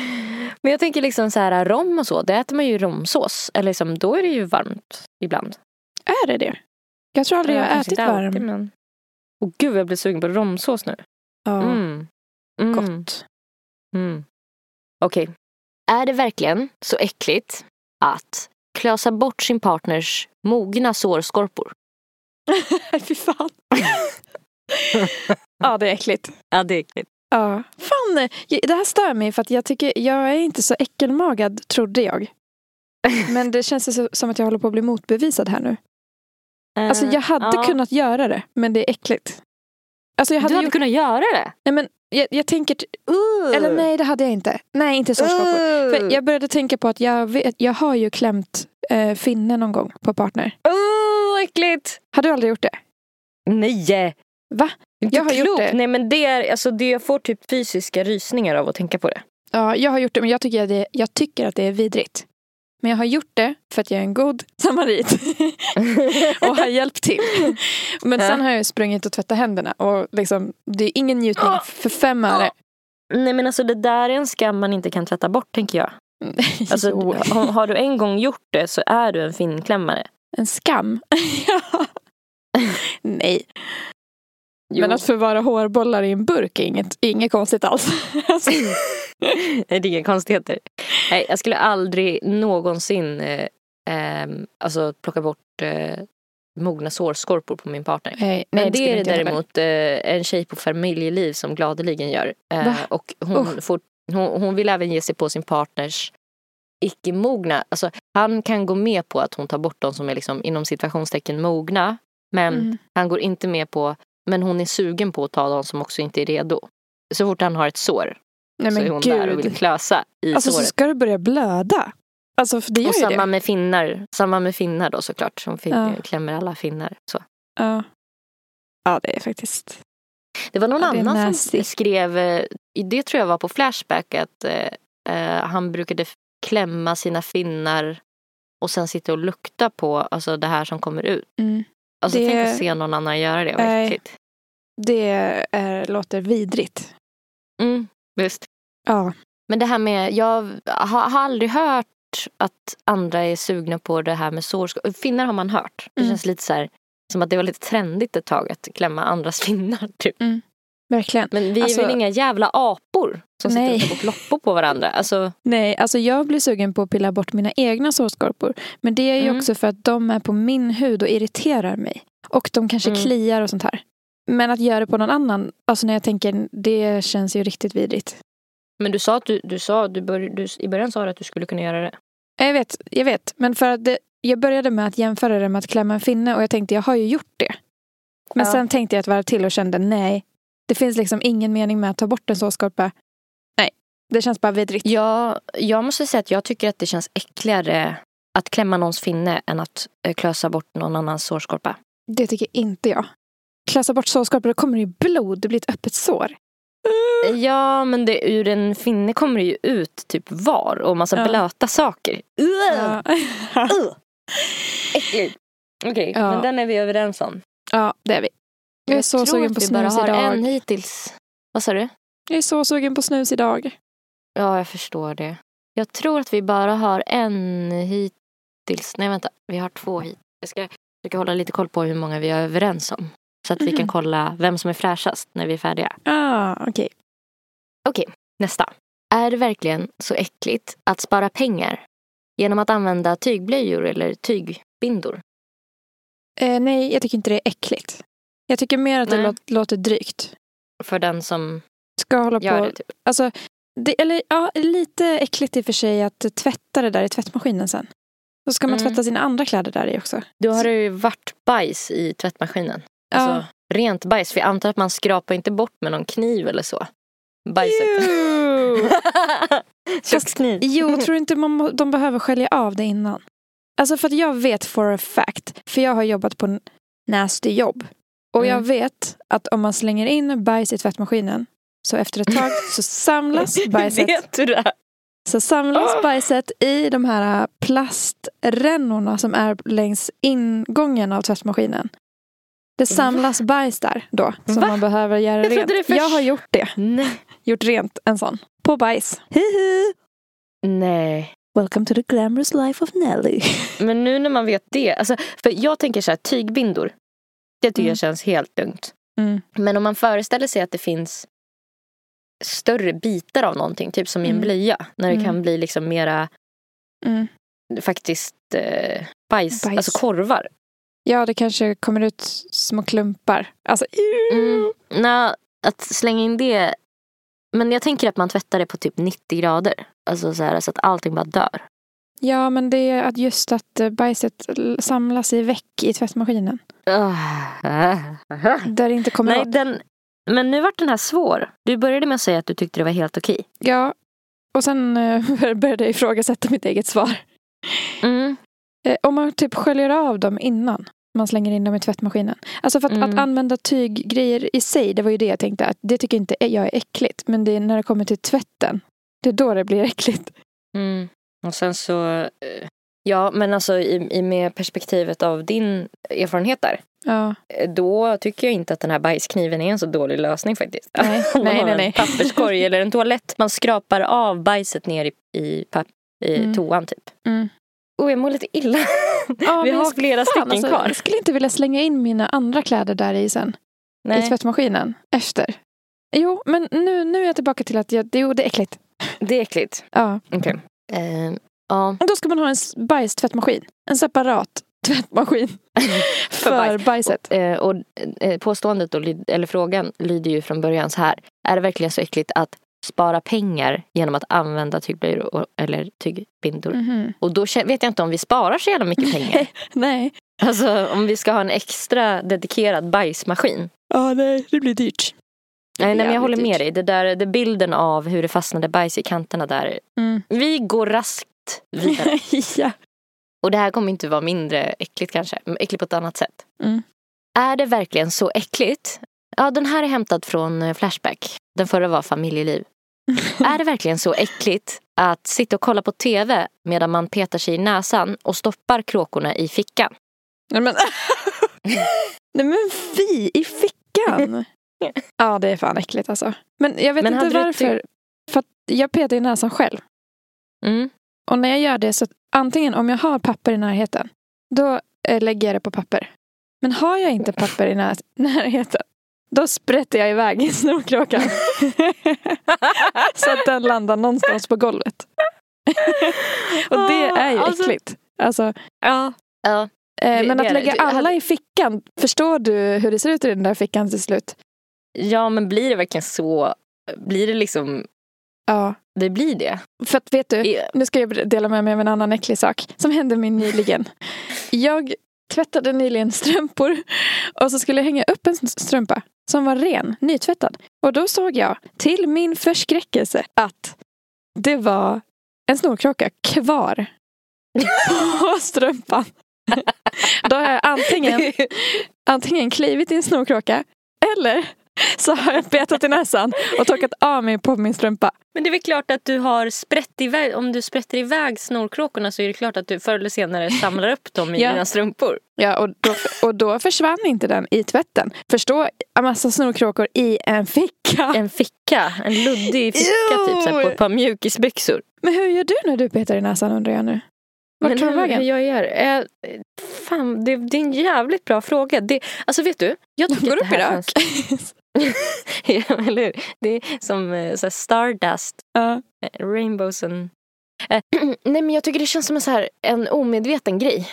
S3: Men jag tänker liksom så här rom och så, det äter man ju i romsås. Eller liksom, då är det ju varmt ibland.
S2: Är det det? Jag tror aldrig jag har
S3: Kanske
S2: ätit
S3: inte
S2: varm.
S3: alltid, men... Åh gud jag blir sugen på romsås nu.
S2: Ja,
S3: Mm. Mm.
S2: gott.
S3: Mm. Okej. Är det verkligen så äckligt att klösa bort sin partners mogna sårskorpor?
S2: Fy fan. ja, det är äckligt.
S3: Ja, det är äckligt.
S2: Ja. Fan, eh, det här stör mig för att jag tycker jag är inte så äckelmagad, trodde jag. Men det känns så- som att jag håller på att bli motbevisad här nu. Alltså jag hade
S3: Eh, ja.
S2: kunnat göra det, men det är äckligt. Alltså jag hade,
S3: du hade
S2: gjort...
S3: kunnat göra det.
S2: Nej men jag, jag tänker t- Eller nej, det hade jag inte. Nej, inte sårskapor. För jag började tänka på att jag, vet, jag har ju klämt eh, finne någon gång på partner.
S3: Oh, äckligt!
S2: Har du aldrig gjort det?
S3: Nej!
S2: Va?
S3: Inte
S2: Jag har gjort
S3: klokt.
S2: det.
S3: Nej men det är, alltså det, jag får typ fysiska rysningar av att tänka på det.
S2: Ja, jag har gjort det, men jag tycker, att det, jag tycker att det är vidrigt. Men jag har gjort det för att jag är en god samarit och har hjälpt till. Men
S3: Ja.
S2: sen har jag ju sprungit och tvättat händerna och liksom, det är ingen njutning för fem öre.
S3: Nej men alltså det där är en skam man inte kan tvätta bort tänker jag. Alltså,
S2: Jo.
S3: har, har du en gång gjort det så är du en finklämmare.
S2: En skam. Ja. Nej, men alltså, att förvara hårbollar i en burk är inget, inget konstigt alls. Alltså,
S3: Nej, det är inga konstigheter. Nej, jag skulle aldrig någonsin eh, ehm, alltså, plocka bort eh, mogna sårskorpor på min partner.
S2: Eh, Nej,
S3: Men
S2: nej,
S3: det
S2: skulle
S3: är det
S2: inte jag heller.
S3: däremot eh, en tjej på familjeliv som gladeligen gör.
S2: Va?
S3: Eh, och hon,
S2: Usch.
S3: får, hon, hon vill även ge sig på sin partners icke-mogna. Alltså, han kan gå med på att hon tar bort de som är liksom, inom situationstecken mogna. Men
S2: Mm.
S3: han går inte med på, men hon är sugen på att ta de som också inte är redo. Så fort han har ett sår
S2: Nej
S3: så är
S2: men
S3: hon där och vill
S2: gud.
S3: klösa i
S2: Alltså så
S3: såret.
S2: ska du börja blöda. Alltså för det gör
S3: och
S2: ju
S3: samma
S2: det.
S3: med finnar. Samma med finnar då såklart. Som fin-
S2: Ja.
S3: klämmer alla finnar. Så.
S2: Ja. ja det är faktiskt.
S3: Det var någon
S2: Ja, det är
S3: annan
S2: nasty.
S3: som skrev, eh, i- det tror jag var på Flashback, att eh, eh, han brukade f- klämma sina finnar och sen sitta och lukta på alltså, det här som kommer ut.
S2: Mm.
S3: Alltså,
S2: Det-
S3: Tänk att se någon annan göra det. Vad
S2: Nej.
S3: äckligt.
S2: Det är, låter vidrigt.
S3: Mm, visst.
S2: Ja.
S3: Men det här med, jag har, har aldrig hört att andra är sugna på det här med sårskador. Finnar har man hört. Det
S2: Mm.
S3: känns lite så här, som att det var lite trendigt ett tag att klämma andras finnar. Typ.
S2: Verkligen.
S3: Men vi
S2: Alltså-
S3: är väl inga jävla apor som sitter
S2: Nej.
S3: och tar bort loppor på varandra. Alltså,
S2: Nej, alltså jag blir sugen på att pilla bort mina egna sårskorpor. Men det är ju
S3: Mm.
S2: också för att de är på min hud och irriterar mig. Och de kanske
S3: Mm.
S2: kliar och sånt här. Men att göra det på någon annan, alltså när jag tänker, det känns ju riktigt vidrigt.
S3: men du sa att du, du sa, du bör, du, i början sa du att du skulle kunna göra det.
S2: Jag vet, jag vet. Men för att det, jag började med att jämföra det med att klämma en finne och jag tänkte jag har ju gjort det. Men
S3: Ja.
S2: sen tänkte jag ett varv till och kände nej. Det finns liksom ingen mening med att ta bort en sårskorpa. Nej, det känns bara vidrigt.
S3: Jag, jag måste säga att jag tycker att det känns äckligare att klämma någons finne än att eh, klösa bort någon annans sårskorpa.
S2: Det tycker inte jag. Klassa bort sårskorpor, då kommer det ju blod. Det blir ett öppet sår.
S3: Ja, men det, ur en finne kommer det ju ut typ var och massa
S2: Ja.
S3: blöta saker. Ugh!
S2: Ja.
S3: Ugh! Äckligt. Okej,
S2: Ja.
S3: men den är vi överens om.
S2: Ja, det är vi. Jag är så
S3: tror
S2: sugen
S3: att
S2: på
S3: vi bara
S2: snus
S3: har
S2: idag.
S3: en hittills. Vad sa du?
S2: Jag är så sugen på snus idag.
S3: Ja, jag förstår det. Jag tror att vi bara har en hittills. Nej, vänta. Vi har två hit. Jag ska försöka hålla lite koll på hur många vi är överens om. Så att vi kan
S2: Mhm.
S3: kolla vem som är fräschast när vi är färdiga.
S2: Ah, okej.
S3: Nästa. Är det verkligen så äckligt att spara pengar genom att använda tygblöjor eller tygbindor?
S2: Eh, nej, jag tycker inte det är äckligt. Jag tycker mer att det
S3: Nej.
S2: låt, låter drygt.
S3: För den som
S2: Ska jag hålla
S3: gör
S2: på...
S3: det. Typ.
S2: Alltså, det, eller ja, lite äckligt i och för sig att tvätta det där i tvättmaskinen sen. Då ska man
S3: Mm.
S2: tvätta sina andra kläder där i också.
S3: Då har det ju varit bajs i tvättmaskinen.
S2: Ja.
S3: Alltså, rent bajs. För jag antar att man skrapar inte bort med någon kniv eller så. Bajset.
S2: Ew.
S3: Kökskniv.
S2: jo, tror du inte man, må- de behöver skölja av det innan? Alltså för att jag vet for a fact, för jag har jobbat på n- nasty jobb. Och jag
S3: Mm.
S2: vet att om man slänger in bajs i tvättmaskinen så efter ett tag så samlas bajset
S3: Vet du det?
S2: Så samlas
S3: Ah!
S2: bajset i de här äh, plastrännorna som är längs ingången av tvättmaskinen. Det samlas bajs där då som
S3: Va?
S2: man behöver göra
S3: trodde
S2: rent.
S3: det först-
S2: Jag har gjort det.
S3: Nej.
S2: Gjort rent en sån. På bajs. Hihi!
S3: Nej.
S2: Welcome to the glamorous life of Nelly.
S3: Men nu när man vet det. Alltså, för jag tänker så här, tygbindor. Det tycker
S2: Mm.
S3: jag känns helt lugnt.
S2: Mm.
S3: Men om man föreställer sig att det finns större bitar av någonting, typ som i en
S2: Mm.
S3: blöja. När det
S2: Mm.
S3: kan bli liksom mera
S2: Mm.
S3: faktiskt eh, bajs,
S2: Bajs.
S3: alltså korvar.
S2: Ja, det kanske kommer ut små klumpar. Alltså,
S3: Mm. Nej, att slänga in det. Men jag tänker att man tvättar det på typ 90 grader. Alltså så, här, så att allting bara dör.
S2: Ja, men det är att just att eh, bajset l- samlas i väck i tvättmaskinen. Där det inte kommer
S3: Nej,
S2: åt.
S3: den... Men nu vart den här svår. Du började med att säga att du tyckte det var helt okej.
S2: Ja. Och sen eh, började jag ifrågasätta mitt eget svar.
S3: Mm.
S2: Eh, Om man typ sköljer av dem innan man slänger in dem i tvättmaskinen. Alltså för att,
S3: Mm.
S2: att använda tyggrejer i sig, det var ju det jag tänkte. Att det tycker inte jag är äckligt. Men det är när det kommer till tvätten, det är då det blir äckligt.
S3: Mm. Och sen så... eh, Ja, men alltså i, i med perspektivet av din erfarenhet där.
S2: Ja,
S3: eh, Då tycker jag inte att den här bajskniven är en så dålig lösning faktiskt.
S2: nej,
S3: Om man
S2: nej,
S3: har
S2: nej.
S3: en
S2: nej.
S3: papperskorg eller en toalett. Man skrapar av bajset ner i, i, papp, i
S2: Mm.
S3: toan typ.
S2: Mm.
S3: Oh, jag mår lite illa.
S2: Ja,
S3: Vi
S2: men
S3: har
S2: jag-
S3: flera
S2: fan,
S3: stycken
S2: alltså,
S3: kvar.
S2: Jag skulle inte vilja slänga in mina andra kläder där i sen. I
S3: Nej,
S2: tvättmaskinen efter. Jo, men nu, nu är jag tillbaka till att jag, det, jo, det är äckligt.
S3: det är äckligt.
S2: Ja.
S3: Okej.
S2: Mm.
S3: Eh, ja.
S2: Och Då ska man ha en s- bajstvättmaskin. En separat tvättmaskin. för
S3: bajs.
S2: bajset.
S3: Eh, och eh, påståendet och lyd, eller frågan lyder ju från början så här. Är det verkligen så äckligt att spara pengar genom att använda tygblöjor och, eller tygbindor?
S2: Mhm.
S3: Och då kä- vet jag inte om vi sparar så jävla mycket pengar.
S2: Nej.
S3: alltså om vi ska ha en extra dedikerad bajsmaskin.
S2: Ja, nej, det blir dyrt.
S3: Nej, nej men jag
S2: Jävligt
S3: håller med
S2: dyrt.
S3: dig. Det där, det bilden av hur det fastnade bajs i kanterna där.
S2: Mm.
S3: Vi går raskt vidare.
S2: ja.
S3: Och det här kommer inte vara mindre äckligt kanske. Men äckligt på ett annat sätt.
S2: Mm.
S3: Är det verkligen så äckligt? Ja, den här är hämtad från eh, Flashback. Den förra var Familjeliv. är det verkligen så äckligt att sitta och kolla på tv medan man petar sig i näsan och stoppar kråkorna i fickan?
S2: Nej men, nej, men vi i fickan. ja, det är fan äckligt alltså. Men jag vet
S3: Men hade
S2: inte
S3: du
S2: varför. För att jag petar i näsan själv.
S3: Mm.
S2: Och när jag gör det så antingen om jag har papper i närheten, då eh, lägger jag det på papper. Men har jag inte papper i när- närheten, då sprätter jag iväg i snorkråkan. så att den landar någonstans på golvet. Och det är ju
S3: Ah, alltså-
S2: äckligt. Alltså, ja.
S3: Ja.
S2: Eh, men
S3: Det- det är
S2: att
S3: det.
S2: lägga
S3: Du-
S2: alla
S3: hade-
S2: i fickan, förstår du hur det ser ut i den där fickan till slut?
S3: ja, men blir det verkligen så? Blir det liksom...
S2: Ja.
S3: Det blir det.
S2: För att vet du,
S3: I-
S2: nu ska jag dela med mig av en annan äcklig sak som hände mig nyligen. Jag tvättade nyligen strumpor och så skulle jag hänga upp en strumpa som var ren, nytvättad. Och då såg jag till min förskräckelse att det var en snorkråka kvar på strumpan. Då har jag antingen antingen klivit i en snorkråka eller så har jag betat i näsan och torkat av mig på min strumpa.
S3: Men det är väl klart att du har sprätt iväg, om du sprätter iväg snorkråkorna så är det klart att du förr eller senare samlar upp dem i
S2: Ja.
S3: dina strumpor.
S2: Ja, och då, och då försvann inte den i tvätten. Förstå, en massa snorkråkor i en ficka.
S3: En ficka, en luddig ficka
S2: Ew.
S3: typ så här, på ett par mjukisbyxor.
S2: Men hur gör du när du betar i näsan undrar jag nu? Vart
S3: Men
S2: tar de
S3: hur- hur
S2: vägen?
S3: jag gör? Eh, fan, det, det är en jävligt bra fråga. Det, alltså vet du? Jag tycker
S2: Går
S3: att det
S2: upp i
S3: här
S2: rök?
S3: känns- ja, eller hur? Det är som eh, så här Stardust,
S2: Ja.
S3: eh, Rainbows and... Eh, nej men jag tycker det känns som en, så här, en omedveten grej.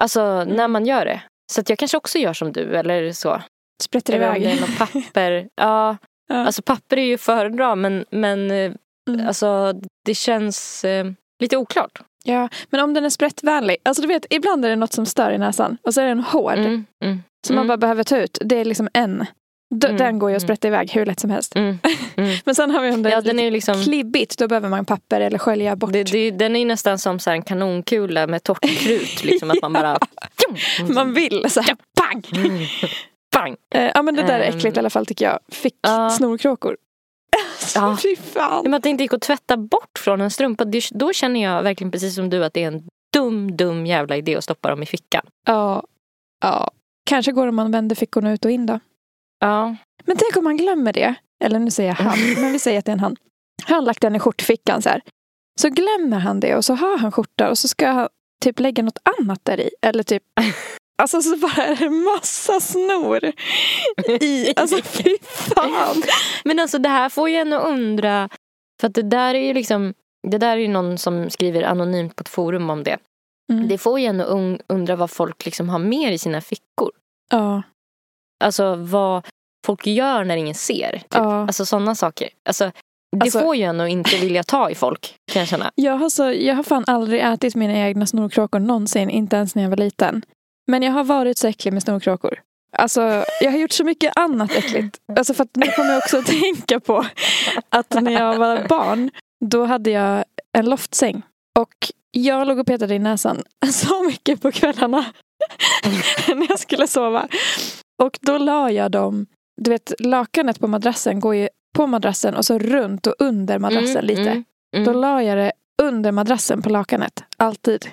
S3: Alltså när man gör det. Så att jag kanske också gör som du eller så.
S2: Sprätter
S3: Eller om
S2: iväg.
S3: det är något papper. Ja,
S2: Ja.
S3: alltså papper är ju föredra men, men eh,
S2: Mm.
S3: alltså det känns eh, lite oklart.
S2: Ja, men om den är sprättvänlig. Alltså du vet, ibland är det något som stör i näsan och så är den hård
S3: Mm, mm,
S2: som man
S3: mm.
S2: bara behöver ta ut. Det är liksom en. D-
S3: Mm,
S2: Den går ju att
S3: mm.
S2: sprätta iväg hur lätt som helst.
S3: mm, mm.
S2: Men sen har vi om det
S3: Ja,
S2: är
S3: den är
S2: lite
S3: ju liksom...
S2: klibbigt, då behöver man papper eller skölja bort.
S3: Det, det, den är ju nästan som så här en kanonkula med torrt krut. Liksom, att man bara...
S2: Man vill så här, pang!
S3: Mm. Bang!
S2: Eh, Ja men det där är
S3: Ehm.
S2: äckligt i alla fall tycker jag. Fick
S3: Ja.
S2: snorkråkor. Alltså,
S3: Ja.
S2: Fy
S3: Men
S2: fan.
S3: att det inte gick att tvätta bort från en strumpa. Det, då känner jag verkligen precis som du att det är en dum, dum jävla idé att stoppa dem i fickan.
S2: Ja. ja. Kanske går det om man vänder fickorna ut och in då.
S3: Ja.
S2: Men tänk om man glömmer det. Eller nu säger jag han, men vi säger att det är en han. Han har lagt den i skjortfickan så här. Så glömmer han det och så har han skjorta och så ska han typ lägga något annat där i. Eller typ. Alltså så bara är det massa snor. I, alltså fy fan.
S3: Men alltså det här får ju en att undra. För att det där är ju liksom... Det där är ju någon som skriver anonymt på ett forum om det.
S2: Mm.
S3: Det får ju en att un- undra vad folk liksom har mer i sina fickor.
S2: Ja.
S3: Alltså vad folk gör när ingen ser. Typ.
S2: ja.
S3: Alltså sådana saker. Alltså, det
S2: Alltså-
S3: får ju en att inte vilja ta i folk kan jag känna.
S2: Jag har, så, jag har fan aldrig ätit mina egna snorkråkor någonsin, inte ens när jag var liten. Men jag har varit så äcklig med snorkråkor. Alltså, jag har gjort så mycket annat äckligt. Alltså, för att nu kommer jag också att tänka på att när jag var barn, då hade jag en loftsäng. Och jag låg och petade i näsan så mycket på kvällarna när jag skulle sova. Och då la jag dem, du vet lakanet på madrassen går ju på madrassen och så runt och under madrassen
S3: Mm,
S2: alltså, lite.
S3: mm, mm.
S2: Då la jag det under madrassen på lakanet. Alltid.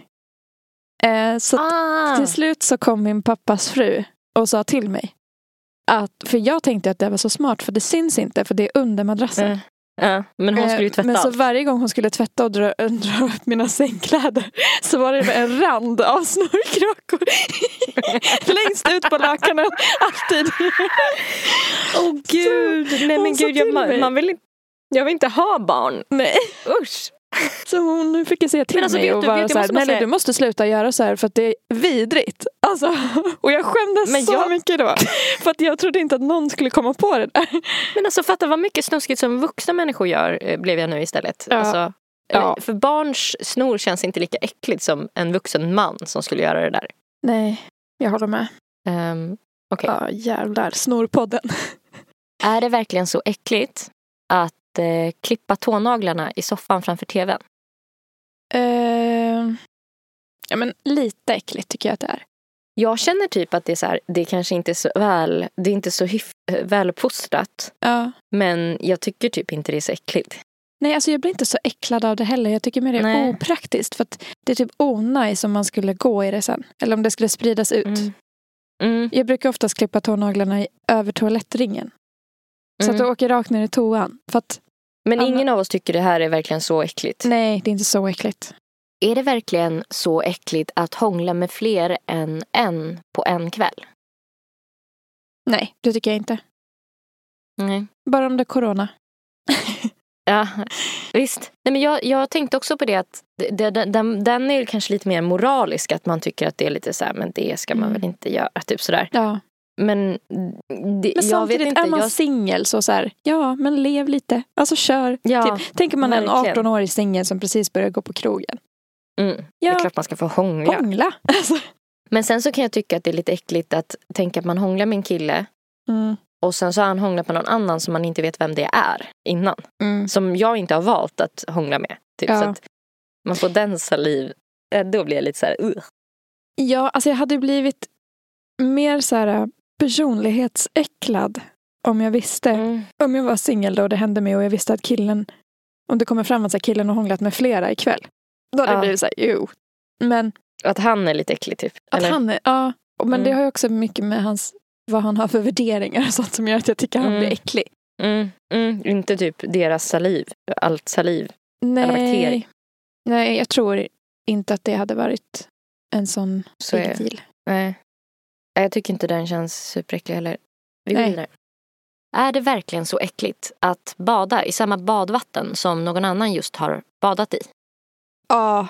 S2: Eh, så
S3: ah.
S2: till slut så kom min pappas fru och sa till mig. Att, för jag tänkte att det var så smart för det syns inte för det är under madrassen.
S3: Eh, ja, men hon skulle ju
S2: Eh,
S3: tvätta
S2: Men så
S3: allt.
S2: varje gång hon skulle tvätta och dra, dra upp mina sängkläder så var det en rand av snorkråkor längst ut på lakanen. Alltid.
S3: Åh gud, nej
S2: hon
S3: men
S2: sa
S3: gud, jag,
S2: till mig.
S3: man, man vill inte, jag vill inte ha barn.
S2: Nej.
S3: Usch.
S2: Så hon fick ju säga till
S3: Men alltså,
S2: mig
S3: vet
S2: och
S3: du-
S2: bara
S3: vet du,
S2: så här,
S3: måste man
S2: nej
S3: säga-
S2: du måste sluta göra så här för att det är vidrigt. Alltså, och jag skämdes
S3: Men
S2: så
S3: jag-
S2: mycket då. För att jag trodde inte att någon skulle komma på det där.
S3: Men alltså fatta vad mycket snuskigt som vuxna människor gör eh, blev jag nu istället.
S2: Ja.
S3: Alltså, eh,
S2: Ja.
S3: För barns snor känns inte lika äckligt som en vuxen man som skulle göra det där.
S2: Nej, jag håller med.
S3: Ehm, Okej.
S2: Ja, jävlar. Snorpodden.
S3: Är det verkligen så äckligt att eh, klippa tånaglarna i soffan framför tvn?
S2: Eh, ja, men lite äckligt tycker jag att det är.
S3: Jag känner typ att det är så här, det kanske inte är så väl, det är inte så hyf, eh, väluppfostrat.
S2: Ja.
S3: Men jag tycker typ inte det är så äckligt.
S2: Nej, alltså jag blir inte så äcklad av det heller. Jag tycker mer det är
S3: Nej.
S2: opraktiskt. För att det är typ onajs om man skulle gå i det sen. Eller om det skulle spridas ut.
S3: Mm.
S2: Jag brukar oftast klippa tånaglarna i, över toalettringen. Så
S3: Mm.
S2: att du åker rakt ner i toan. För att
S3: Men
S2: Anna-
S3: ingen av oss tycker det här är verkligen så äckligt.
S2: nej, det är inte så äckligt.
S3: Är det verkligen så äckligt att hångla med fler än en på en kväll?
S2: Nej, det tycker jag inte.
S3: Nej.
S2: Bara om det är corona.
S3: Ja, visst. Nej, men jag, jag tänkte också på det att det- det, den- den, den är ju kanske lite mer moralisk. Att man tycker att det är lite så här, men det ska man
S2: Mm.
S3: väl inte göra. Typ sådär.
S2: Ja.
S3: Men, det,
S2: Men
S3: jag vet
S2: samtidigt
S3: inte.
S2: är man
S3: jag,
S2: singel så, så här, ja men lev lite. Alltså kör.
S3: ja,
S2: Typ, tänker man en
S3: verkligen.
S2: 18-årig singel som precis börjar gå på krogen.
S3: mm, det är
S2: Ja,
S3: klart man ska få hångla.
S2: hångla. Alltså.
S3: Men sen så kan jag tycka att det är lite äckligt att tänka att man hånglar med en kille
S2: Mm.
S3: och sen så har han hånglat med någon annan som man inte vet vem det är innan.
S2: Mm.
S3: Som jag inte har valt att hångla med. Typ.
S2: Ja.
S3: Så att man får den saliv. eh, Då blir jag lite så här, "Ugh."
S2: Ja, alltså jag hade blivit mer så här eh, personlighetsäcklad om jag visste.
S3: Mm.
S2: Om jag var singel då och det hände mig och jag visste att killen, om det kommer fram att så här, killen har hånglat med flera ikväll. Då hade
S3: Ja.
S2: det blivit så här, jo. Men
S3: Att han är lite äcklig typ.
S2: att
S3: eller?
S2: han är, ja. Och- Men
S3: Mm.
S2: det har ju också mycket med hans, vad han har för värderingar och sånt som gör att jag tycker han
S3: Mm.
S2: blir äcklig.
S3: Mm, mm, inte typ deras saliv. Allt saliv. bakterier.
S2: Nej. Nej, jag tror inte att det hade varit en sån
S3: Så
S2: big
S3: är,
S2: deal.
S3: nej. Nej, Jag tycker inte den känns superäcklig heller. Vi går
S2: Nej.
S3: vidare. Är det verkligen så äckligt att bada i samma badvatten som någon annan just har badat i?
S2: Ja.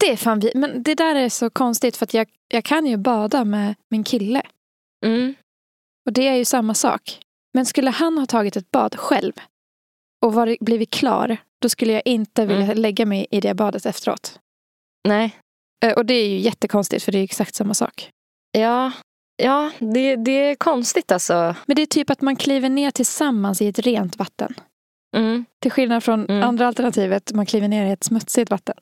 S2: Det är fan vi. Men det där är så konstigt för att jag, jag kan ju bada med min kille.
S3: Mm.
S2: Och det är ju samma sak. Men skulle han ha tagit ett bad själv och varit, blivit klar, då skulle jag inte vilja
S3: Mm.
S2: lägga mig i det badet efteråt.
S3: Nej.
S2: Eh, Och det är ju jättekonstigt för det är ju exakt samma sak.
S3: Ja. Ja, det, det är konstigt alltså.
S2: Men det är typ att man kliver ner tillsammans i ett rent vatten.
S3: Mm.
S2: Till skillnad från
S3: Mm.
S2: andra alternativet, man kliver ner i ett smutsigt vatten.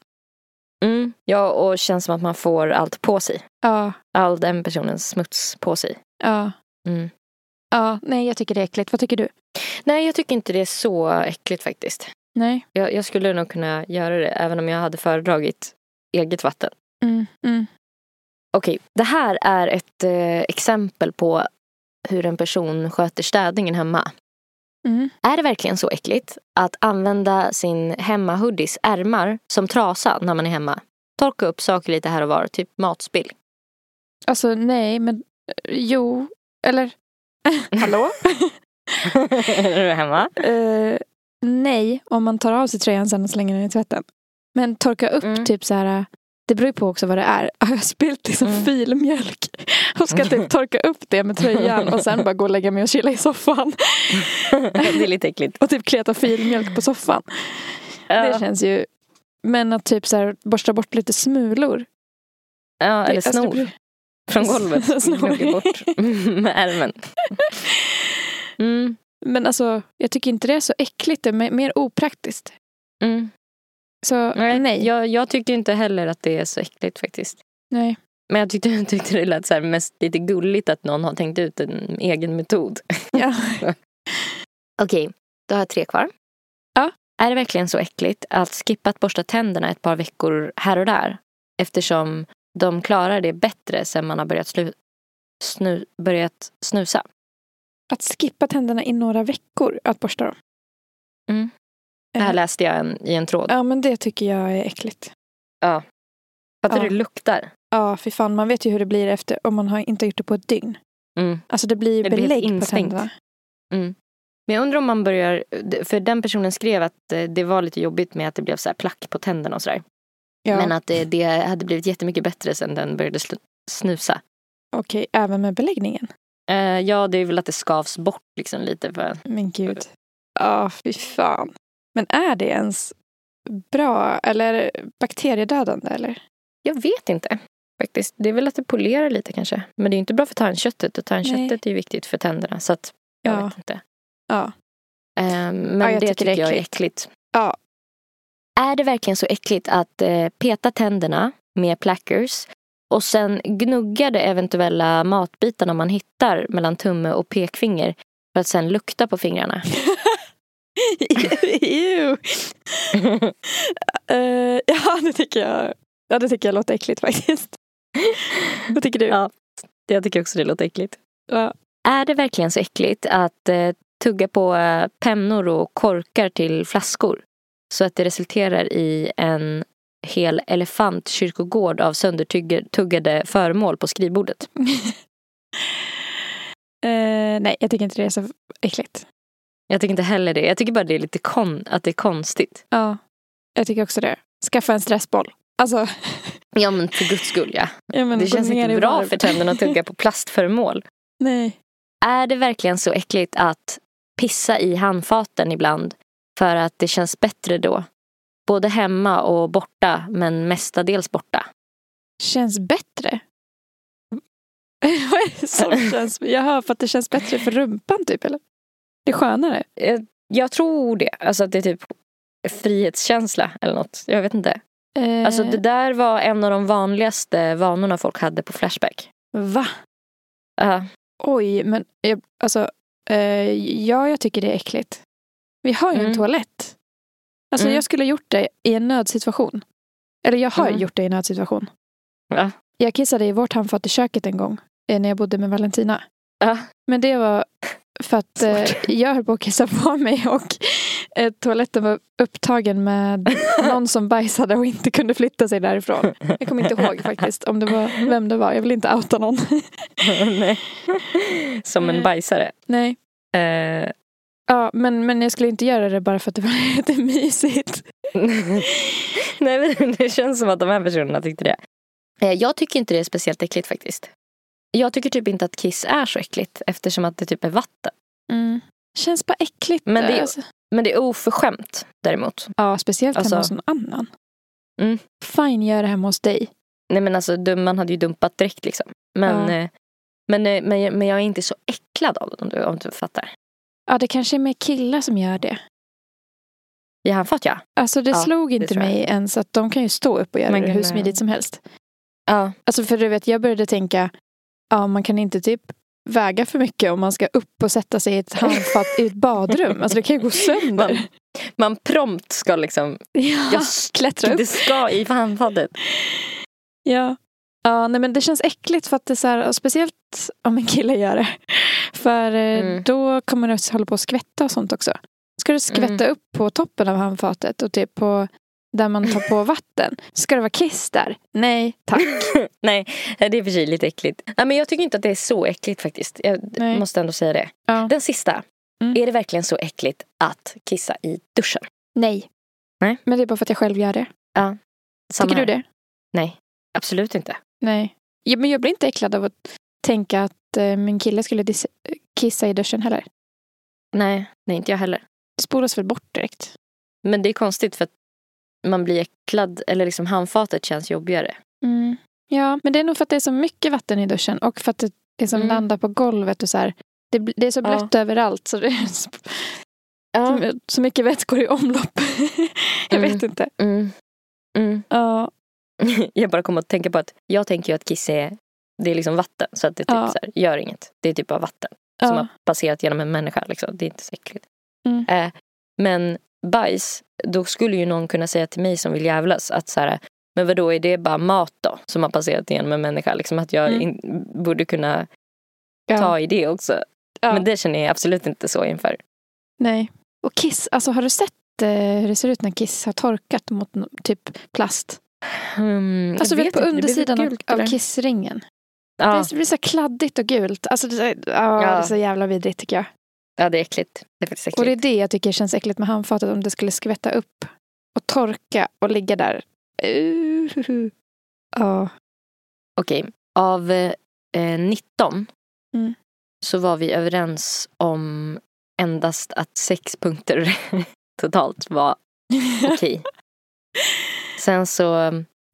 S3: Mm. Ja, och känns som att man får allt på sig.
S2: Ja,
S3: All den personens smuts på sig.
S2: ja,
S3: Mm.
S2: ja. Nej, jag tycker det är äckligt. Vad tycker du?
S3: Nej, jag tycker inte det är så äckligt faktiskt.
S2: Nej.
S3: Jag, jag skulle nog kunna göra det även om jag hade föredragit eget vatten.
S2: Mm, mm.
S3: Okej, det här är ett eh, exempel på hur en person sköter städningen hemma.
S2: Mm.
S3: Är det verkligen så äckligt att använda sin hemmahoodies ärmar som trasa när man är hemma? Torka upp saker lite här och var, typ matspill.
S2: Alltså nej, men eh, jo, eller
S3: Hallå? är du hemma?
S2: Eh, nej, om man tar av sig tröjan sen och slänger den i tvätten. Men torka upp
S3: Mm.
S2: typ så här. Det beror ju på också vad det är. Har jag spillt liksom
S3: Mm.
S2: filmjölk och ska typ torka upp det med tröjan och sen bara gå och lägga mig och chilla i soffan
S3: det är lite äckligt.
S2: och typ kleta filmjölk på soffan. Det
S3: Ja,
S2: känns ju... Men att typ så här, borsta bort lite smulor.
S3: ja eller
S2: Det- alltså, det
S3: snor
S2: beror-
S3: från golvet.
S2: Snor.
S3: Gnugga bort med ärmen. Mm,
S2: Men alltså, jag tycker inte det är så äckligt. Det är me- mer opraktiskt.
S3: mm.
S2: Så nej. Nej.
S3: Jag, jag tycker inte heller att det är så äckligt faktiskt.
S2: nej.
S3: Men jag tyckte, jag tyckte det lät så här mest lite gulligt att någon har tänkt ut en egen metod.
S2: Ja.
S3: Okej, då har jag tre kvar.
S2: Ja.
S3: Är det verkligen så äckligt att skippa att borsta tänderna ett par veckor här och där? Eftersom de klarar det bättre sen man har börjat, slu- snu- börjat snusa.
S2: Att skippa tänderna i några veckor att borsta dem.
S3: Mm. Det här
S2: Eh,
S3: läste jag en, i en tråd.
S2: Ja men det tycker jag är äckligt.
S3: Fattar
S2: ja.
S3: du hur det luktar?
S2: Ja fy fan man vet ju hur det blir efter om man har inte gjort det på ett dygn.
S3: Mm.
S2: Alltså det blir ju
S3: Det blir ett
S2: belägg på
S3: instinkt.
S2: tänderna.
S3: Men jag undrar om man börjar, för den personen skrev att eh, det var lite jobbigt med att det blev så här plack på tänderna och sådär.
S2: Ja
S3: Men att eh, det, det hade blivit jättemycket bättre sen den började slu- snusa.
S2: okej även med beläggningen.
S3: Eh, ja, det är väl att det skavs bort liksom lite. För...
S2: Men gud. Ja fy fan. Men är det ens bra eller bakteriedödande eller?
S3: Jag vet inte faktiskt. Det är väl att det polerar lite kanske. Men det är ju inte bra för tandköttet och tandköttet
S2: Nej.
S3: är ju viktigt för tänderna. Så att jag
S2: Ja.
S3: vet inte.
S2: Ja.
S3: Eh, men
S2: Ja,
S3: det
S2: jag
S3: tycker,
S2: tycker det är
S3: jag är äckligt.
S2: Ja.
S3: Är det verkligen så äckligt att eh, peta tänderna med plackers och sen gnugga de eventuella matbitarna man hittar mellan tumme och pekfinger för att sen lukta på fingrarna?
S2: Ew. Eh, ja det tycker jag. Ja det tycker jag låter äckligt faktiskt. Vad tycker du?
S3: Ja. Jag tycker också det låter äckligt.
S2: Ja.
S3: Är det verkligen så äckligt att eh, tugga på eh, pennor och korkar till flaskor? Så att det resulterar i en hel elefantkyrkogård av söndertuggade föremål på skrivbordet.
S2: Eh, nej jag tycker inte det är så äckligt.
S3: Jag tycker inte heller det. Jag tycker bara det är lite kon- att det är konstigt.
S2: Ja, jag tycker också det. Skaffa en stressboll. Alltså,
S3: Ja men för guds skull ja.
S2: ja, men
S3: Det
S2: gå
S3: känns
S2: ner
S3: inte
S2: i
S3: bra
S2: varv.
S3: för tänderna att tugga på plastföremål.
S2: Nej.
S3: Är det verkligen så äckligt att pissa i handfaten ibland för att det känns bättre då? Både hemma och borta, men mestadels borta.
S2: Känns bättre. Vad är det som känns? Jag hör för att det känns bättre för rumpan typ, eller? Det är skönare.
S3: Eh, Jag tror det. Alltså att det är typ frihetskänsla eller något. Jag vet inte.
S2: Eh,
S3: Alltså det där var en av de vanligaste vanorna folk hade på Flashback.
S2: Va?
S3: Ja,
S2: Oj, men jag, alltså, Eh, ja, jag tycker det är äckligt. Vi har ju en
S3: Mm.
S2: toalett. Alltså
S3: Mm.
S2: jag skulle ha gjort det i en nödsituation. Eller jag har
S3: Mm.
S2: gjort det i en nödsituation.
S3: Ja.
S2: Jag kissade i vårt handfat i köket en gång. eh, När jag bodde med Valentina.
S3: Ja.
S2: Men det var för att eh, jag höll på att kissa på mig och eh, toaletten var upptagen med någon som bajsade och inte kunde flytta sig därifrån. Jag kommer inte ihåg faktiskt om det var vem det var. Jag vill inte outa någon.
S3: Nej. Som en
S2: Eh.
S3: bajsare.
S2: Nej.
S3: Eh,
S2: Ja, men, men jag skulle inte göra det bara för att det var lite mysigt.
S3: Nej men det känns som att de här personerna tyckte det. Eh, Jag tycker inte det är speciellt äckligt faktiskt. Jag tycker typ inte att kiss är så äckligt eftersom att det typ är vatten.
S2: Känns bara äckligt.
S3: Mm. Men det-
S2: alltså.
S3: Men det är oförskämt däremot.
S2: Ja, speciellt
S3: Alltså-
S2: hemma hos någon annan.
S3: Mm.
S2: Fine, gör det hemma hos dig.
S3: Nej men alltså dum- man hade ju dumpat direkt liksom. Men,
S2: Ja.
S3: eh, men, eh, men, jag- men jag är inte så äcklad av det om du, om du fattar.
S2: Ja, det kanske är mer killar som gör det.
S3: I handfat ja.
S2: Alltså det
S3: Ja,
S2: slog
S3: det
S2: inte
S3: tror jag.
S2: mig ens att de kan ju stå upp och göra
S3: Man
S2: det
S3: kan
S2: hur
S3: göra-
S2: smidigt som helst.
S3: Ja.
S2: Alltså för du vet, jag började tänka, ja man kan inte typ väga för mycket om man ska upp och sätta sig i ett handfat i ett badrum. Alltså det kan ju gå
S3: Man,
S2: sönder.
S3: man prompt ska liksom.
S2: Ja,
S3: Jag
S2: klättra upp.
S3: Det ska i handfatet.
S2: Ja. Ja, nej men det känns äckligt för att det är så här, och speciellt om en kille gör det. För eh,
S3: Mm.
S2: då kommer det att hålla på att skvätta och sånt också. Ska det
S3: Mm.
S2: skvätta upp på toppen av handfatet och typ på där man tar på vatten. Ska det vara kiss där? Nej, tack.
S3: Nej, det är i och för sig lite äckligt. Nej, men jag tycker inte att det är så äckligt faktiskt. Jag
S2: Nej.
S3: måste ändå säga det.
S2: Ja.
S3: Den sista.
S2: Mm.
S3: Är det verkligen så äckligt att kissa i duschen?
S2: Nej.
S3: Nej.
S2: Men det är bara för att jag själv gör det.
S3: Samma
S2: Tycker du
S3: här.
S2: det?
S3: Nej, absolut inte.
S2: Nej. Ja, men jag blir inte äcklad av att tänka att eh, min kille skulle dis- kissa i duschen heller.
S3: Nej, nej inte jag heller.
S2: Det spolas väl bort direkt.
S3: Men det är konstigt för att man blir äcklad, eller liksom handfatet känns jobbigare. Mm.
S2: Ja, men det är nog för att det är så mycket vatten i duschen och för att det liksom
S3: Mm.
S2: landar på golvet och så här. Det, bl- det är så
S3: Ja.
S2: blött överallt så, det är så,
S3: Ja.
S2: så mycket vett går i omlopp. jag
S3: Mm.
S2: vet inte.
S3: Mm. Mm.
S2: Ja,
S3: Jag bara kom att tänka på att jag tänker ju att kiss är, det är liksom vatten. Så att det typ
S2: Ja.
S3: så här, gör inget. Det är typ bara vatten. som
S2: ja.
S3: har passerat genom en människa. Liksom. Det är inte så äckligt.
S2: Mm.
S3: Eh, men bajs, då skulle ju någon kunna säga till mig som vill jävlas att så här, men vadå är det bara mat då som har passerat genom en människa? Liksom att jag
S2: Mm.
S3: in, borde kunna
S2: ja.
S3: ta i det också.
S2: Ja.
S3: Men det känner jag absolut inte så inför.
S2: Nej. Och kiss, alltså har du sett eh, hur det ser ut när kiss har torkat mot no- typ plast?
S3: Mm, jag
S2: Alltså vet på
S3: inte, det blir
S2: undersidan
S3: väl
S2: av,
S3: gult,
S2: av
S3: eller?
S2: kissringen.
S3: Ja.
S2: Det blir så här kladdigt och gult. Alltså, det, är- ja, det är så jävla vidrigt tycker jag.
S3: ja, det är äckligt. Det är faktiskt äckligt.
S2: Och det är det jag tycker känns äckligt med handfatet. Om det skulle skvätta upp och torka och ligga där. Uh, ja.
S3: Okej, av eh, eh, 19
S2: Mm.
S3: så var vi överens om endast att sex punkter totalt var okej. Sen så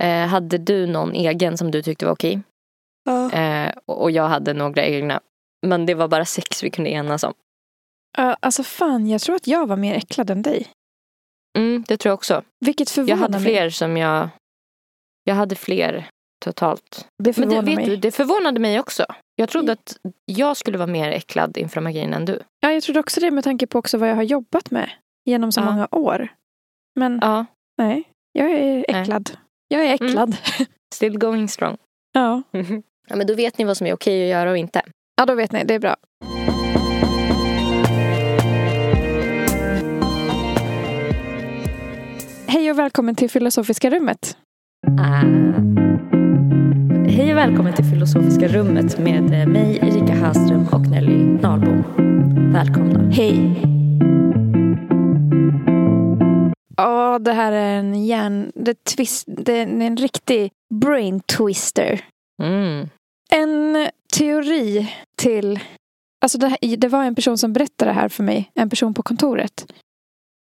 S3: eh, hade du någon egen som du tyckte var okej
S2: Oh.
S3: eh, och och jag hade några egna. Men det var bara sex vi kunde enas om.
S2: Ja, alltså fan, jag tror att jag var mer äcklad än dig.
S3: Mm, det tror jag också.
S2: Vilket förvånar
S3: Jag hade
S2: mig.
S3: fler som jag... Jag hade fler totalt.
S2: Det
S3: Men det,
S2: förvånar
S3: vet
S2: mig.
S3: du, det förvånade mig också. Jag trodde att jag skulle vara mer äcklad inför magin än du.
S2: Ja, jag trodde också det med tanke på också vad jag har jobbat med genom så
S3: Ja.
S2: många år. Men
S3: Ja, Mm.
S2: nej, jag är äcklad. Jag är äcklad.
S3: still going strong.
S2: Ja.
S3: ja, men då vet ni vad som är okej att göra och inte.
S2: ja, då vet ni. Det är bra. Hej och välkommen till Filosofiska rummet.
S3: Ah. Hej och välkommen till Filosofiska rummet med eh, mig, Erika Hallström och Nelly Nahlbom. Välkomna.
S2: Hej. Ja, det här är en hjärn... Det, twist, det är en riktig brain twister.
S3: Mm.
S2: en teori till... Alltså det, här, det var en person som berättade det här för mig, en person på kontoret.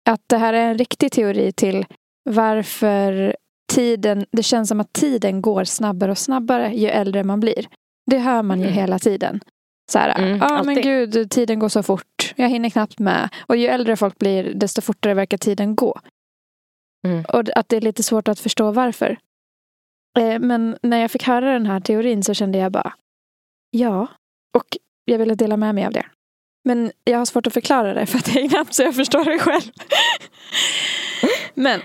S2: Att det här är en riktig teori till varför tiden, det känns som att tiden går snabbare och snabbare ju äldre man blir. Det hör man ju
S3: Mm.
S2: hela tiden. Så här,
S3: Mm,
S2: ja men
S3: alltid.
S2: gud, tiden går så fort. Jag hinner knappt med. Och ju äldre folk blir, desto fortare verkar tiden gå.
S3: Mm.
S2: Och att det är lite svårt att förstå varför. Eh, Men när jag fick höra den här teorin så kände jag bara ja. Och jag ville dela med mig av det. Men jag har svårt att förklara det för att jag är knappt så jag förstår det själv. Men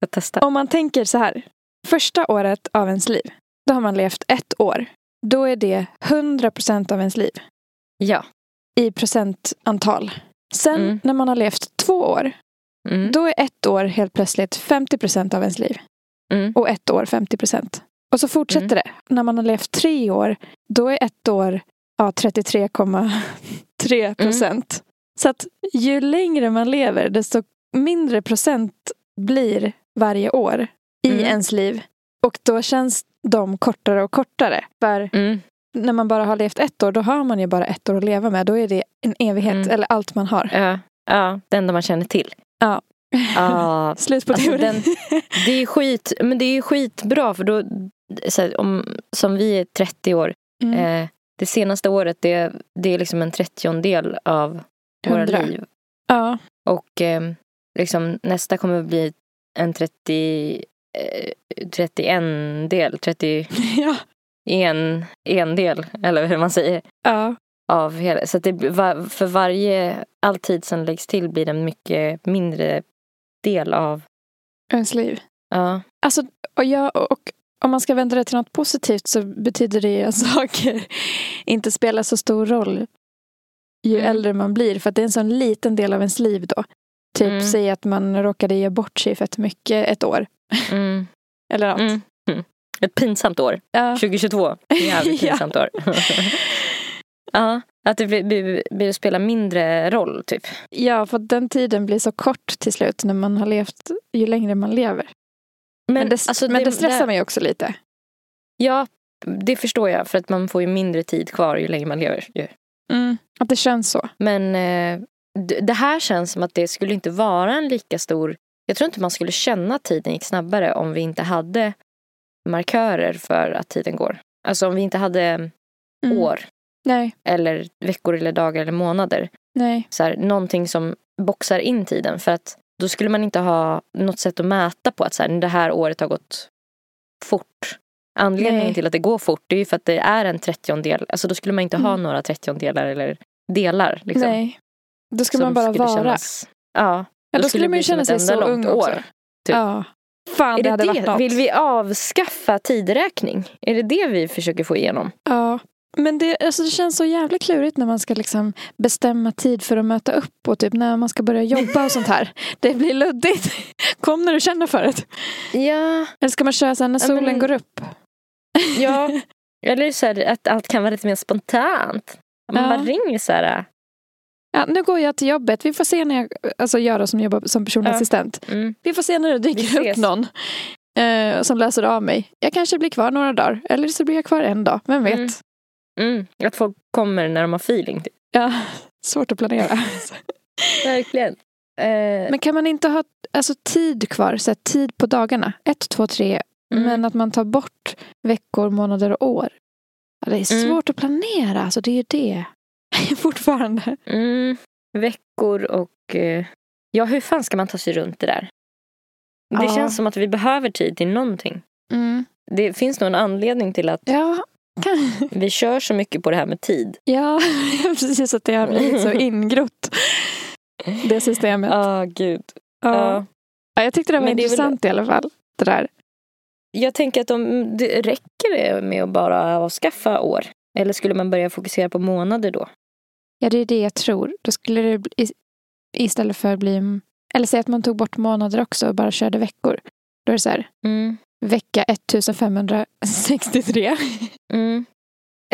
S3: Jag testar.
S2: om man tänker så här. Första året av ens liv, då har man levt ett år. Då är det 100% av ens liv
S3: Ja.
S2: i procentantal. Sen
S3: Mm.
S2: när man har levt två år,
S3: Mm.
S2: då är ett år helt plötsligt 50% av ens liv.
S3: Mm.
S2: Och ett år 50%. Och så fortsätter det. När man har levt tre år, då är ett år ja, 33,3%.
S3: Mm.
S2: Så att ju längre man lever, desto mindre procent blir varje år i
S3: Mm.
S2: ens liv. Och då känns de kortare och kortare. För
S3: Mm.
S2: när man bara har levt ett år, då har man ju bara ett år att leva med. Då är det en evighet,
S3: Mm.
S2: eller allt man har.
S3: Ja. ja, det enda man känner till.
S2: Ja.
S3: Ja,
S2: Slut på
S3: Alltså,
S2: teorin.
S3: den- Det är, skit, men det är ju skitbra för då, så här, om, som vi är 30 år,
S2: Mm.
S3: eh, det senaste året det, det är liksom en trettiondel av våra
S2: Hundra.
S3: liv.
S2: Ja.
S3: Och eh, liksom, nästa kommer bli en 30, eh, 31 del, 31
S2: ja.
S3: en del eller hur man säger.
S2: ja.
S3: Av hela, så att det, blir- va- för varje, all tid som läggs till blir det en mycket mindre del av,
S2: Ens liv.
S3: ja.
S2: Alltså, och, jag, och om man ska vända det till något positivt så betyder det ju att saker inte spelar så stor roll ju
S3: Mm.
S2: äldre man blir. För att det är en sån liten del av ens liv då. Typ
S3: Mm.
S2: säg att man råkade ge bort sig fett mycket ett år.
S3: Mm.
S2: Eller något.
S3: Mm. Mm. Ett pinsamt år.
S2: Ja.
S3: 2022. Jävligt
S2: Ja.
S3: pinsamt år. ja, att det blir, blir, blir spelar mindre roll typ.
S2: ja, för att den tiden blir så kort till slut när man har levt, ju längre man lever. Men, det,
S3: alltså,
S2: men det, stressar
S3: det-
S2: mig också lite.
S3: Ja, det förstår jag. För att man får ju mindre tid kvar ju längre man lever. ju.
S2: Att det känns så.
S3: Men eh, d- det här känns som att det skulle inte vara en lika stor... Jag tror inte man skulle känna att tiden gick snabbare om vi inte hade markörer för att tiden går. Alltså om vi inte hade
S2: Mm.
S3: år
S2: Nej,
S3: eller veckor eller dagar eller månader.
S2: nej.
S3: så här, någonting som boxar in tiden. För att då skulle man inte ha något sätt att mäta på att så här, det här året har gått fort. Anledningen
S2: Nej.
S3: till att det går fort det är ju för att det är en trettiondel. Alltså då skulle man inte ha
S2: Mm.
S3: några trettiondelar eller delar. Liksom,
S2: nej. Då ska
S3: som
S2: man bara
S3: skulle
S2: vara.
S3: kännas- ja.
S2: ja, då,
S3: då skulle
S2: skulle
S3: det
S2: man
S3: bli
S2: ju känna
S3: som
S2: sig
S3: ett
S2: så
S3: enda
S2: ung
S3: långt
S2: också.
S3: år, typ.
S2: Ja. Fan, det,
S3: Är det
S2: hade
S3: det?
S2: varit något.
S3: Vill vi avskaffa tideräkning? Är det det vi försöker få igenom?
S2: Ja. Men det, alltså det känns så jävligt klurigt när man ska liksom bestämma tid för att möta upp och typ när man ska börja jobba och sånt här. Det blir luddigt. Kom när du känner för det.
S3: Ja,
S2: Eller ska man köra sen när
S3: Ja, men-
S2: solen går upp?
S3: Ja, eller så här, att allt kan vara lite mer spontant. Man
S2: Ja.
S3: bara ringer så här.
S2: Ja, nu går jag till jobbet. Vi får se när jag, alltså jag som jobbar som personlig
S3: Ja.
S2: assistent.
S3: Mm.
S2: Vi får se när det
S3: Vi
S2: dyker upp
S3: ses.
S2: någon eh, som läser av mig. Jag kanske blir kvar några dagar. Eller så blir jag kvar en dag. Vem vet?
S3: Mm. Mm. Att folk kommer när de har feeling. Typ.
S2: Ja, svårt att planera.
S3: Verkligen. Eh,
S2: Men kan man inte ha alltså, tid kvar, så här, tid på dagarna? Ett, två, tre.
S3: Mm.
S2: Men att man tar bort veckor, månader och år. Ja, det är
S3: Mm.
S2: svårt att planera, alltså, det är ju det. Fortfarande.
S3: mm. Veckor och... Eh, ja, hur fan ska man ta sig runt det där? Det
S2: Ja.
S3: känns som att vi behöver tid till någonting. Mm. Det finns nog en anledning till att
S2: Ja, kan...
S3: vi kör så mycket på det här med tid.
S2: ja, precis att det har blivit så ingrott. Det systemet. Ja.
S3: ah, gud.
S2: Ja.
S3: Ja.
S2: jag tyckte det var
S3: Men det är väl-
S2: intressant i alla fall. Det där.
S3: Jag tänker att de, det räcker det med att bara avskaffa år? Eller skulle man börja fokusera på månader då?
S2: Ja, det är det jag tror. Då skulle det bli, is- istället för bli... Eller säg att man tog bort månader också och bara körde veckor. Då är det så här, vecka 1563.
S3: Mm.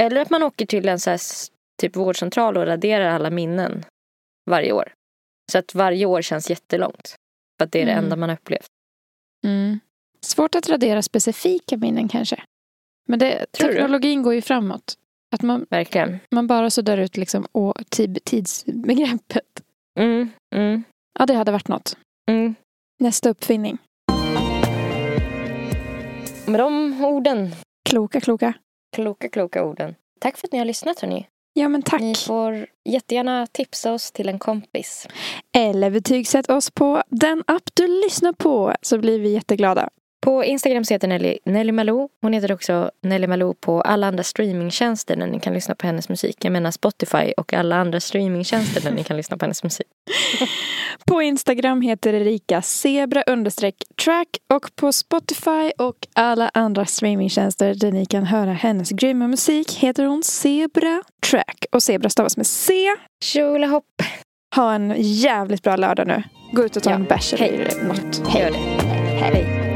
S3: Eller att man åker till en så här, s- typ vårdcentral och raderar alla minnen varje år. Så att varje år känns jättelångt. För att det är det
S2: Mm.
S3: enda man har upplevt.
S2: Svårt att radera specifika minnen kanske. Men det,
S3: Tror du?
S2: teknologin går ju framåt. Att man,
S3: Verkligen.
S2: man bara suddar ut liksom, å, tid, tidsbegreppet.
S3: Mm, mm,
S2: Ja, det hade varit något.
S3: mm.
S2: Nästa uppfinning.
S3: Med de orden,
S2: Kloka, kloka.
S3: kloka, kloka orden. Tack för att ni har lyssnat hörni.
S2: Ja, men tack.
S3: Ni får jättegärna tipsa oss till en kompis.
S2: Eller betygsätt oss på den app du lyssnar på så blir vi jätteglada.
S3: På Instagram så heter Nelly, Nelly Malou. Hon heter också Nelly Malou på alla andra streamingtjänster där ni kan lyssna på hennes musik. Jag menar Spotify och alla andra streamingtjänster där ni kan lyssna på hennes musik.
S2: På Instagram heter Erika zebra understreck track och på Spotify och alla andra streamingtjänster där ni kan höra hennes grymma musik heter hon Zebra Track och Zebra stavas med C.
S3: Tjolahopp!
S2: Ha en jävligt bra lördag nu. Gå ut och ta
S3: Ja.
S2: en bärs
S3: Hej.
S2: eller något.
S3: Gör det. Hej.